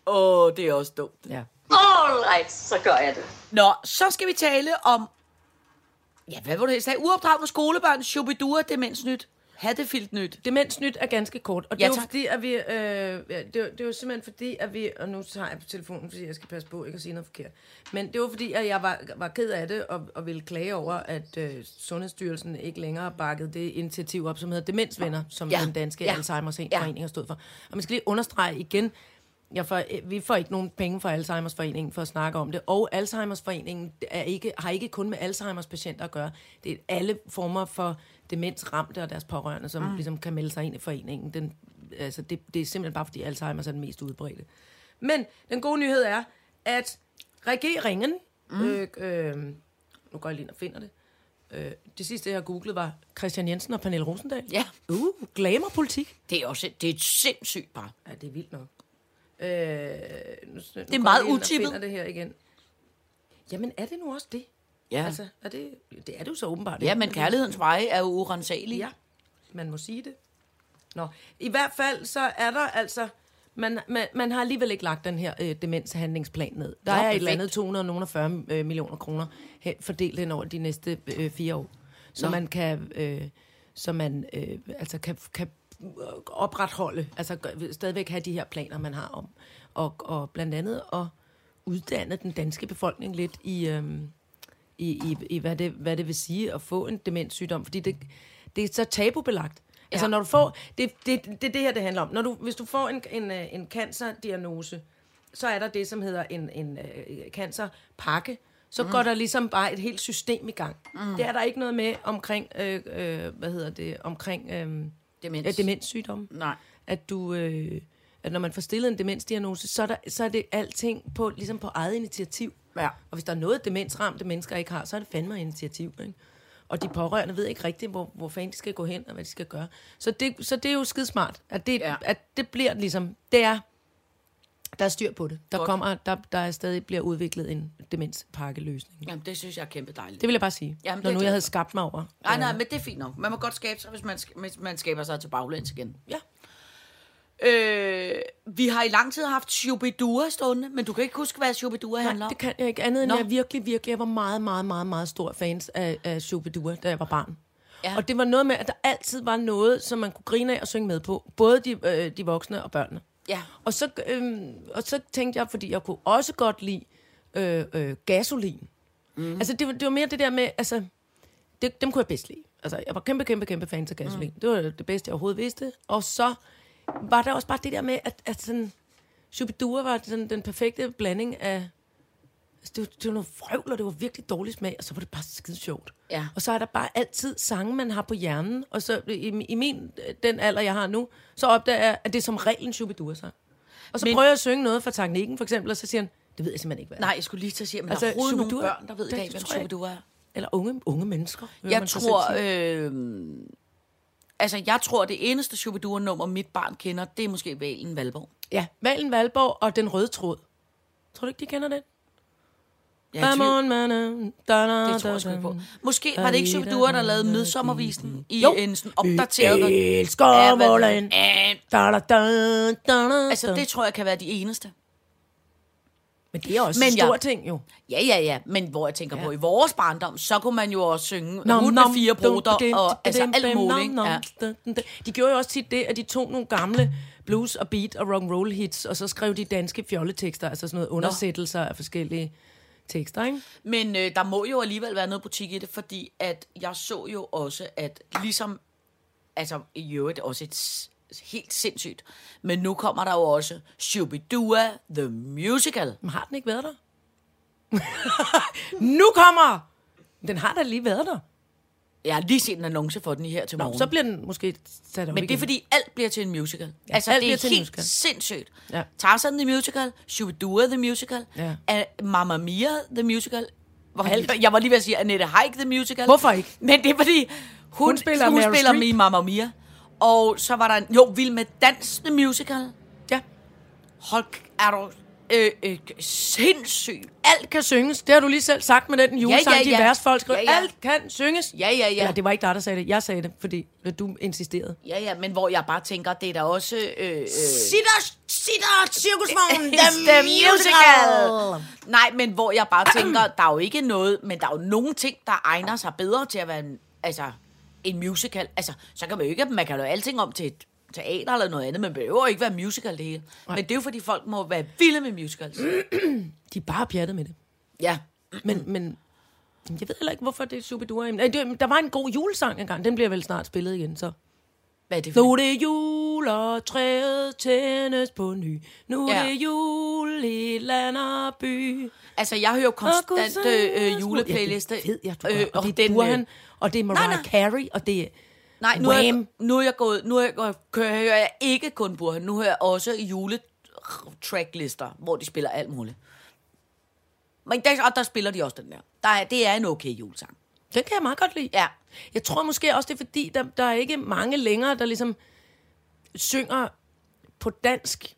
S2: Åh, oh, det er også dumt.
S3: Ja.
S4: Alright, så gør jeg det.
S2: Nå, så skal vi tale om... Ja, hvad var det, jeg sagde? Uopdragende skolebørn, shubidua, demensnyt, hattefiltnyt.
S3: Demensnyt er ganske kort, og det
S2: Ja,
S3: ja, er jo
S2: tak.
S3: fordi, at vi... Øh, ja, det, er- det er jo simpelthen fordi, at vi... Og nu tager jeg på telefonen, fordi jeg skal passe på ikke at sige noget forkert. Men det var fordi, at jeg var, var ked af det og, og ville klage over, at øh, Sundhedsstyrelsen ikke længere bakkede det initiativ op, som hedder Demensvenner, som
S2: Ja,
S3: ja. den danske
S2: ja,
S3: ja. Alzheimers
S2: ja.
S3: forening har stået for. Og man skal lige understrege igen, jeg får, øh, vi får ikke nogen penge fra Alzheimers Foreningen for at snakke om det. Og Alzheimers Foreningen er ikke, har ikke kun med Alzheimers patienter at gøre. Det er alle former for demensramte og deres pårørende, som mm. ligesom kan melde sig ind i foreningen. Den, altså det, det er simpelthen bare, fordi Alzheimers er den mest udbredte. Men den gode nyhed er, at regeringen... Mm. Øh, øh, nu går jeg lige ind og finder det. Øh, det sidste, jeg har googlet, var Christian Jensen og Pernille Rosendal.
S2: Ja.
S3: Uh, glamour-politik.
S2: Det er også et, det er et sindssygt par.
S3: Ja, det er vildt nok. Øh, nu, nu det
S2: meget utippet.
S3: utippet. det her igen. Jamen, er det nu også det?
S2: Ja.
S3: Altså, er det, det er det jo så åbenbart.
S2: Ja,
S3: ikke?
S2: men kærlighedens veje er jo urensagelig.
S3: Ja, man må sige det. Nå, i hvert fald så er der altså... Man, man, man har alligevel ikke lagt den her øh, demenshandlingsplan ned. Der
S2: Nå,
S3: er et
S2: perfekt.
S3: eller andet 240 øh, millioner kroner he- fordelt hen over de næste øh, fire år, så
S2: Nå.
S3: man kan, øh, så man, øh, altså kan, kan opretholde, altså gø- stadigvæk have de her planer, man har om, og, og blandt andet at uddanne den danske befolkning lidt i... Øh, i, i, i hvad, det, hvad det vil sige at få en demenssygdom, fordi det, det er så tabubelagt. Altså
S2: Ja.
S3: når du får, det det, det, det, det her det handler om. Når du, hvis du får en, en, øh, en cancerdiagnose, så er der det, som hedder en, en øh, cancerpakke. Så mm. går der ligesom bare et helt system i gang. Mm. Det er der ikke noget med omkring, øh, øh, hvad hedder det, omkring øh,
S2: Demens.
S3: ja, demenssygdomme
S2: Nej.
S3: at du øh, at når man får stillet en demensdiagnose, så er, der, så er det alting på, ligesom på eget initiativ.
S2: Ja.
S3: Og hvis der er noget, demensramte mennesker ikke har, så er det fandme initiativ. Ikke? Og de pårørende ved ikke rigtigt, hvor, hvor fanden de skal gå hen og hvad de skal gøre. Så det, så det er jo skidesmart, at det,
S2: Ja.
S3: ja. at det bliver ligesom, det er, der er styr på det. Der
S2: Godt.
S3: kommer, der, der er stadig bliver udviklet en demenspakkeløsning.
S2: Jamen, det synes jeg er kæmpe dejligt.
S3: Det vil jeg bare sige,
S2: Jamen, det
S3: Jamen, når nu
S2: er jeg
S3: jeg
S2: glad
S3: havde
S2: for.
S3: skabt mig over.
S2: Nej, nej, men det er fint nok. Man må godt skabe sig, hvis man, sk- hvis man skaber sig til baglæns igen.
S3: Ja.
S2: Øh, vi har i lang tid haft Shubidua stående, men du kan ikke huske, hvad Shubidua handler
S3: Nej,
S2: om.
S3: det kan jeg ikke andet end,
S2: Nå.
S3: Nå. jeg virkelig, virkelig, jeg var meget, meget, meget, meget stor fans af, af Shubidua, da jeg var barn.
S2: Ja.
S3: Ja. Og det var noget med, at der altid var noget, som man kunne grine af og synge med på. Både de, øh, de voksne og børnene.
S2: Ja.
S3: Og så, øhm, og så tænkte jeg, fordi jeg kunne også godt lide øh, øh, gasolin. Mm. Altså, det var, det var mere det der med, altså, det, dem kunne jeg bedst lide. Altså, jeg var kæmpe, kæmpe, kæmpe fan til gasolin. Mm. Det var det bedste, jeg overhovedet vidste. Og så var der også bare det der med, at, at sådan, Shubidua var den, den perfekte blanding af... Altså, det, var, det var noget frøvl, og det var virkelig dårlig smag, og så var det bare skide sjovt.
S2: Ja.
S3: Og så er der bare altid sange, man har på hjernen. Og så i, i min, den alder, jeg har nu, så opdager jeg, at det er som regel en Shubidua-sang. Og så
S2: Men-
S3: Men... prøver jeg at synge noget fra teknikken, for eksempel, og så siger han, det ved jeg simpelthen ikke, hvad er."
S2: Nej, jeg skulle lige til at sige, men altså,
S3: Altså,
S2: der er overhovedet nogle
S3: Shubidua,
S2: børn, der ved i
S3: det
S2: dag, hvem
S3: tror jeg
S2: Shubidua er.
S3: Eller unge, unge mennesker. vil
S2: Jeg
S3: man så selv sige.
S2: tror, øh, altså, jeg tror, det eneste Shubidua-nummer, mit barn kender, det er måske Valen Valborg.
S3: Ja, Valen Valborg og Den Røde Tråd. Tror du ikke, de kender den?
S2: Jeg er i
S3: Come
S2: tvivl.
S3: on, man, uh, da, da,
S2: Det tror jeg sgu
S3: da,
S2: ikke på.
S3: da.
S2: Måske var det ikke Shubidua, der lavede midsommervisen i jo. en sådan opdateret...
S3: Vi
S2: Ja,
S3: elsker
S2: hvad-
S3: Måland.
S2: Ja,
S3: Da, da, da, da, da.
S2: Altså, det tror jeg kan være de eneste.
S3: Men det er også
S2: Men
S3: en stor
S2: jeg-
S3: ting, jo.
S2: Ja, ja, ja. Men hvor jeg tænker ja.
S3: Ja.
S2: på, i vores barndom, så kunne man jo også synge
S3: Nom,
S2: Hut med
S3: nom,
S2: fire
S3: dum,
S2: bruder
S3: dum,
S2: og
S3: dum,
S2: altså
S3: dum,
S2: alt
S3: dum,
S2: muligt.
S3: nom,
S2: ikke?
S3: nom,
S2: Ja.
S3: dum, dum. De gjorde jo også tit det, at de tog nogle gamle blues og beat og rock and roll hits, og så skrev de danske fjolletekster, altså sådan noget undersættelser af forskellige tekster, ikke?
S2: Men øh, der må jo alligevel være noget butik i det, fordi at jeg så jo også, at ligesom, altså i øvrigt også et s- helt sindssygt, men nu kommer der jo også Shubidua The Musical.
S3: Men har den ikke været der? [LAUGHS] nu kommer! Den har da lige været der.
S2: Jeg har lige set en annonce for den i her til morgen.
S3: Så bliver den måske sat op
S2: Men det er
S3: igen.
S2: fordi, alt bliver til en musical. Ja, altså,
S3: alt
S2: det
S3: bliver
S2: er
S3: til en
S2: helt
S3: musical.
S2: sindssygt.
S3: Ja.
S2: Ja. Tarzan the Musical, Shubidua the Musical,
S3: Ja.
S2: ja. Mamma Mia the Musical. Hvor jeg, jeg var lige ved at sige Annette Haik the Musical.
S3: Hvorfor ikke?
S2: Men det er fordi, hun,
S3: Hun
S2: hun
S3: spiller
S2: spiller, hun
S3: Meryl
S2: spiller
S3: Streep.
S2: med i Mamma Mia. Og så var der en, jo, Vild med Dans the Musical.
S3: Ja.
S2: Hold, er du øh, øh, sindssyg?
S3: Alt kan synges. Det har du lige selv sagt med den julesang, ja, ja, ja. de vers folk skriver. Ja, ja. Alt kan synges.
S2: Ja, ja, ja.
S3: Eller, det var ikke dig, der sagde det. Jeg sagde det, fordi øh, du insisterede.
S2: Ja, ja, men hvor jeg bare tænker, det er da også... Øh, øh,
S5: Sitter, sitter,
S3: [LAUGHS]
S5: cirkusvognen, the,
S2: The
S5: musical.
S2: musical. Nej, men hvor jeg bare tænker, der er jo ikke noget, men der er jo nogle ting, der egner sig bedre til at være en, altså, en musical. Altså, så kan man jo ikke, man kan lave alting om til et teater eller noget andet, men behøver ikke være musical det hele. Men det er jo fordi, folk må være vilde med musicals.
S3: De er bare pjattet med det.
S2: Ja.
S3: Men, men jeg ved heller ikke, hvorfor det er super Nej, det, Der var en god julesang engang. Den bliver vel snart spillet igen, så.
S2: Hvad er det for?
S3: Nu er det jul, og træet tændes på ny. Nu er ja.
S2: Ja.
S3: det jul i land og by.
S2: Altså, jeg hører jo konstant
S3: så
S2: øh,
S3: er
S2: øh, juleplayliste.
S3: Ja, det ved jeg, du
S2: Øh,
S3: øh, og, og det er
S2: den, øh,
S3: Burhan, og det er Mariah
S2: nej,
S3: nej,
S2: nej.
S3: Carey, og det er...
S2: Nej, nu er, jeg,
S3: Wham.
S2: nu er jeg gået, nu er jeg, gået, kører, hører jeg ikke kun Burhan, nu hører jeg også juletracklister, hvor de spiller alt muligt. Men der, og der spiller de også den der. der er, det er en okay julesang.
S3: Den kan jeg meget godt lide.
S2: Ja.
S3: Jeg tror måske også, det er fordi, der, der er ikke mange længere, der ligesom synger på dansk,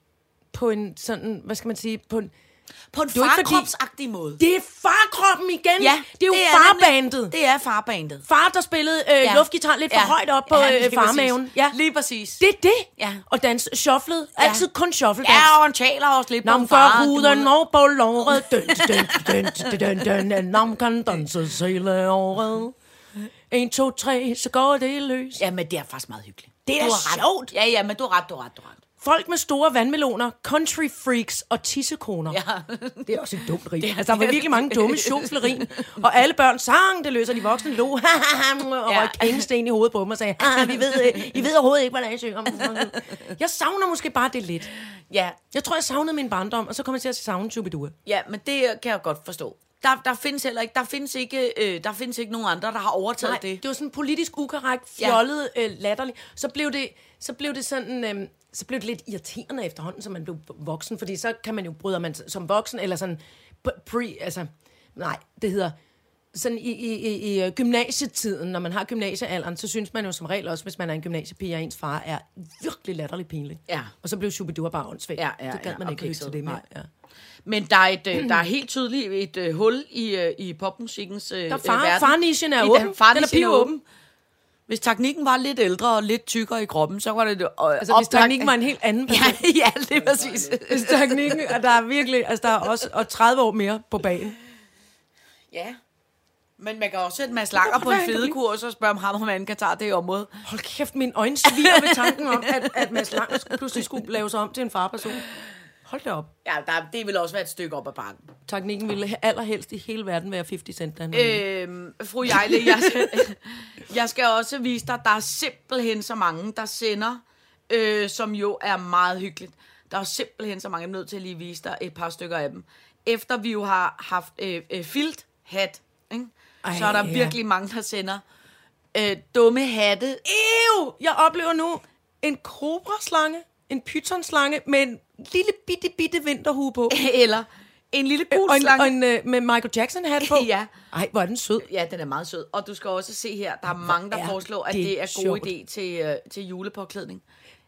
S3: på en sådan, hvad skal man sige, på en...
S2: På en
S3: jo ikke fordi-
S2: farkropsagtig måde.
S3: Det er farkroppen igen!
S2: ja,
S3: det er jo farbandet!
S2: Nemlig, det er farbandet.
S3: Far, der spillede øh, ja.
S2: Ja.
S3: luftgitar lidt for ja.
S2: Ja.
S3: højt op på
S2: Ja, lige
S3: øh, farmaven.
S2: præcis.
S3: Ja.
S2: Lige præcis.
S3: Det er det.
S2: Ja.
S3: Og dans shufflet. Ja. Altid kun shuffle dans.
S2: Ja, og han taler også lidt på
S3: Nam
S2: en
S3: gør
S2: far.
S3: ruden over på låret. Døn, døn, døn, døn, døn, døn. Nam kan danse hele året. 1, 2, 3, så går det løs.
S2: Ja, men det er faktisk meget hyggeligt.
S3: Det er da
S2: Du har ret.
S3: sjovt.
S2: Ja, ja, men du har ret, du har ret, du har ret.
S3: Folk med store vandmeloner, country freaks og tissekoner. Ja. Det er også et dumt
S2: [LAUGHS]
S3: rim. Altså, der var virkelig mange dumme sjoflerin. Og alle børn sang, det løser de voksne lå. og røg kængesten i hovedet på dem og sagde, "Ah, vi ved, øh, I ved overhovedet ikke, hvordan jeg synger. Jeg savner måske bare det lidt.
S2: Ja,
S3: Jeg tror, jeg savnede min barndom, og så kom jeg til at savne Chubidua.
S2: Ja, men det øh, kan jeg godt forstå. Der, der findes heller ikke, der findes ikke, øh, der findes ikke nogen andre, der har overtaget
S3: Nej,
S2: det.
S3: det var sådan politisk ukorrekt, fjollet, ja. øh, latterligt. Så blev det, så blev det sådan... Øh, så blev det lidt irriterende efterhånden, som man blev voksen, fordi så kan man jo bryde man sig- som voksen, eller sådan p- pre, altså, nej, det hedder, sådan i, i, i, i øh, gymnasietiden, når man har gymnasiealderen, så synes man jo som regel også, hvis man er en gymnasiepige, og ens far er virkelig latterligt pinlig.
S2: Ja.
S3: Og så blev Shubidua bare åndssvagt.
S2: Ja, ja,
S3: det gad
S2: ja,
S3: man
S2: og
S3: ikke lytte
S2: kikset.
S3: til det med.
S2: Nej.
S3: Ja.
S2: Men der er, et, øh, der er helt tydeligt et øh, hul i, øh, i popmusikkens øh,
S3: Der er
S2: øh,
S3: far,
S2: verden.
S3: farnichen er
S2: I
S3: åben. Den er
S2: farnichen
S3: pivåben.
S2: Hvis teknikken var lidt ældre og lidt tykkere i kroppen, så var det øh,
S3: Altså, hvis teknikken var en helt anden person.
S2: Ja, [LAUGHS] ja, det er præcis.
S3: Hvis teknikken, og der er virkelig, altså der er også og 30 år mere på banen.
S2: ja. Men man kan også sætte Mads Langer på en
S3: Hvad er det?
S2: fedekurs og spørge om ham, om han kan tage det i området.
S3: Hold kæft, min øjne sviger ved tanken om, at, at Mads Lang skulle- pludselig skulle lave sig om til en farperson. Hold da op.
S2: Ja, der, det vil også være et stykke op ad bakken.
S3: Teknikken ville allerhelst i hele verden være 50 Cent. da han var lille.
S2: Øhm, fru Jejle, jeg, jeg skal [LAUGHS] også vise dig, der er simpelthen så mange, der sender, øh, som jo er meget hyggeligt. Der er simpelthen så mange, jeg er nødt til at lige vise dig et par stykker af dem. Efter vi jo har haft øh, øh, filt hat, ikke?
S3: Ej,
S2: så er der
S3: ja.
S2: virkelig mange, der sender øh, dumme hatte. [LAUGHS] Øh.
S3: Ew! Jeg oplever nu en kobraslange, en pythonslange med en lille bitte, bitte vinterhue på.
S2: Eller en lille gul
S3: Og en,
S2: slange.
S3: og en øh, med Michael Jackson hat på.
S2: [LAUGHS] Ja.
S3: Ej, hvor er den sød.
S2: Ja, den er meget sød. Og du skal også se her, der er mange, der
S3: er
S2: foreslår, at
S3: det
S2: det, er god
S3: sjovt.
S2: idé til, øh, til julepåklædning.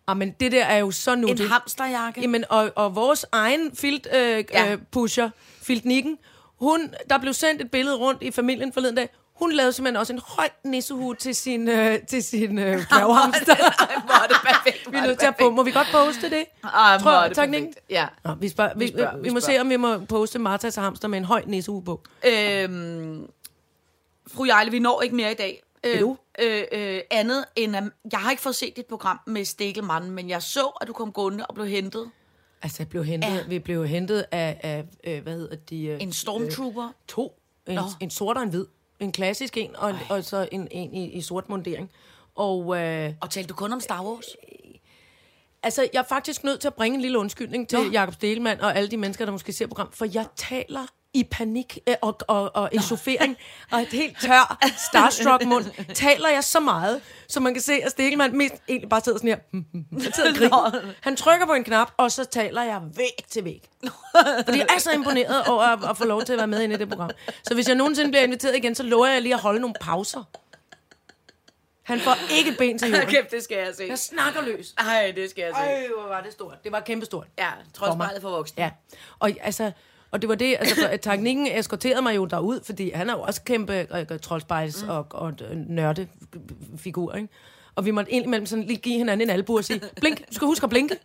S3: Ah, men det der er jo så nu.
S2: En hamsterjakke.
S3: Jamen, og, og vores egen filt, øh,
S2: Ja.
S3: ja. pusher, filtnikken, hun, der blev sendt et billede rundt i familien forleden dag, hun lavede simpelthen også en høj nissehue til sin, øh, til sin
S2: [LAUGHS]
S3: øh, knavhamster.
S2: Ej, [LAUGHS] hvor er det perfekt.
S3: [LAUGHS] vi er nødt til at på. Må vi godt poste det?
S2: Ej, Ah, hvor er det
S3: tak,
S2: perfekt.
S3: Nick.
S2: Ja.
S3: Nå, vi, spørger, vi, vi,
S2: spørger,
S3: vi,
S2: vi
S3: må
S2: spørger.
S3: se, om vi må poste Martas hamster med en høj nissehue på.
S2: Øhm, fru Jejle, vi når ikke mere i dag. Øh,
S3: Jo.
S2: Øh, øh, andet end, at jeg har ikke fået set dit program med Stikkelmanden, men jeg så, at du kom gående og blev hentet
S3: Altså, jeg blev hentet, ja. vi blev hentet af, af øh, hvad hedder de? Øh,
S2: En stormtrooper.
S3: to. En, en sort og en hvid. En klassisk en, og, og så en, en i, i sort mundering. Og øh,
S2: Og talte du kun om Star [LAUGHS] Wars?
S3: altså, jeg er faktisk nødt til at bringe en lille undskyldning til Jakob Delmand og alle de mennesker, der måske ser programmet, for jeg taler i panik øh, og, og, og echauffering og et helt tør starstruck mund, taler jeg så meget, så man kan se, at Stelman mest egentlig bare sidder sådan her. hmm, hmm, hmm. Han sidder og griner. Han trykker på en knap, og så taler jeg væk til væk. Fordi jeg er så imponeret over at, at få lov til at være med inde i det program. Så hvis jeg nogensinde bliver inviteret igen, så lover jeg lige at holde nogle pauser. Han får ikke et ben til jorden.
S2: Kæft, det skal jeg se.
S3: Jeg snakker løs.
S2: Ej, det skal jeg se.
S3: Øj, hvor var det stort. Det var kæmpestort.
S2: Ja,
S3: For mig.
S2: trodsbejlet for voksne.
S3: Ja. Og, altså, og det var det, altså, for, at teknikken eskorterede mig jo derud, fordi han er jo også kæmpe uh, troldspejls mm. og, og nørdefigur, ikke? Og vi måtte indimellem sådan lige give hinanden en albu og sige, blink, du skal huske at blinke.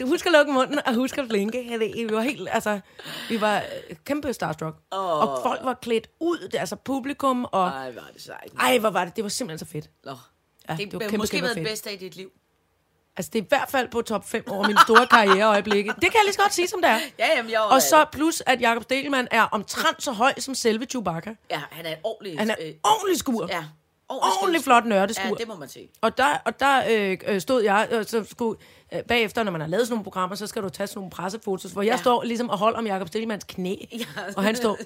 S3: Du husker at lukke munden og husk at blinke. Jeg ved, Vi var helt, altså, vi var øh, kæmpe starstruck. Oh. Og folk var klædt ud, det, altså publikum, og ej.
S2: Ej, hvor er det sejt.
S3: ej, hvor var det, det var simpelthen så fedt.
S2: Nå.
S3: Ja,
S2: Det,
S3: var
S2: det har
S3: kæmpe,
S2: måske
S3: kæmpe
S2: været
S3: fedt.
S2: det bedste af dit liv.
S3: Altså, det er i hvert fald på top 5 over min store karriereøjeblikke. Det kan jeg lige så godt sige, som det er.
S2: Ja, jamen, jeg var-
S3: Og så plus, at Jakob Delman er omtrent så høj som selve Chewbacca.
S2: øh, Ja, han er en ordentlig...
S3: Han er
S2: øh,
S3: ordentlig skur.
S2: ja,
S3: Ordentlig flot nørdeskur.
S2: Ja, det må man se.
S3: Og der, og der øh, øh, stod jeg, og så skulle, øh, bagefter, når man har lavet sådan nogle programmer, så skal du tage sådan nogle pressefotos, hvor jeg
S2: Ja.
S3: står ligesom og holder om Jakob Stelmans knæ, ja. og han står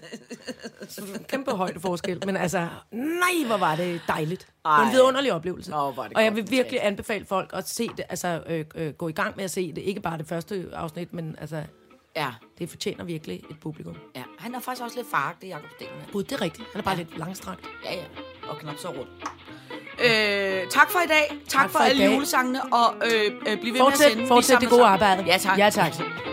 S3: kæmpe højdeforskel, men altså, nej, hvor var det dejligt. Ej. Det var en
S2: Ej.
S3: vidunderlig oplevelse.
S2: Nå, hvor er det
S3: og jeg vil
S2: godt
S3: virkelig anbefale folk at se det, altså øh, øh, gå i gang med at se det, ikke bare det første afsnit, men altså,
S2: Ja,
S3: det fortjener virkelig et publikum.
S2: ja. Han er faktisk også lidt faragtig, Jacob Stenman.
S3: Gud, det er rigtigt. Han er bare lidt langstrakt.
S2: Ja, ja. Og knap så rundt. Øh, tak for i dag. Tak, tak for,
S3: for i
S2: alle
S3: dag.
S2: julesangene. Og øh, øh, bliv ved med at
S3: Fortsæt,
S2: sende. Vi
S3: fortsæt
S2: samler
S3: det gode
S2: sammen.
S3: arbejde.
S2: Ja, tak.
S3: Ja, tak.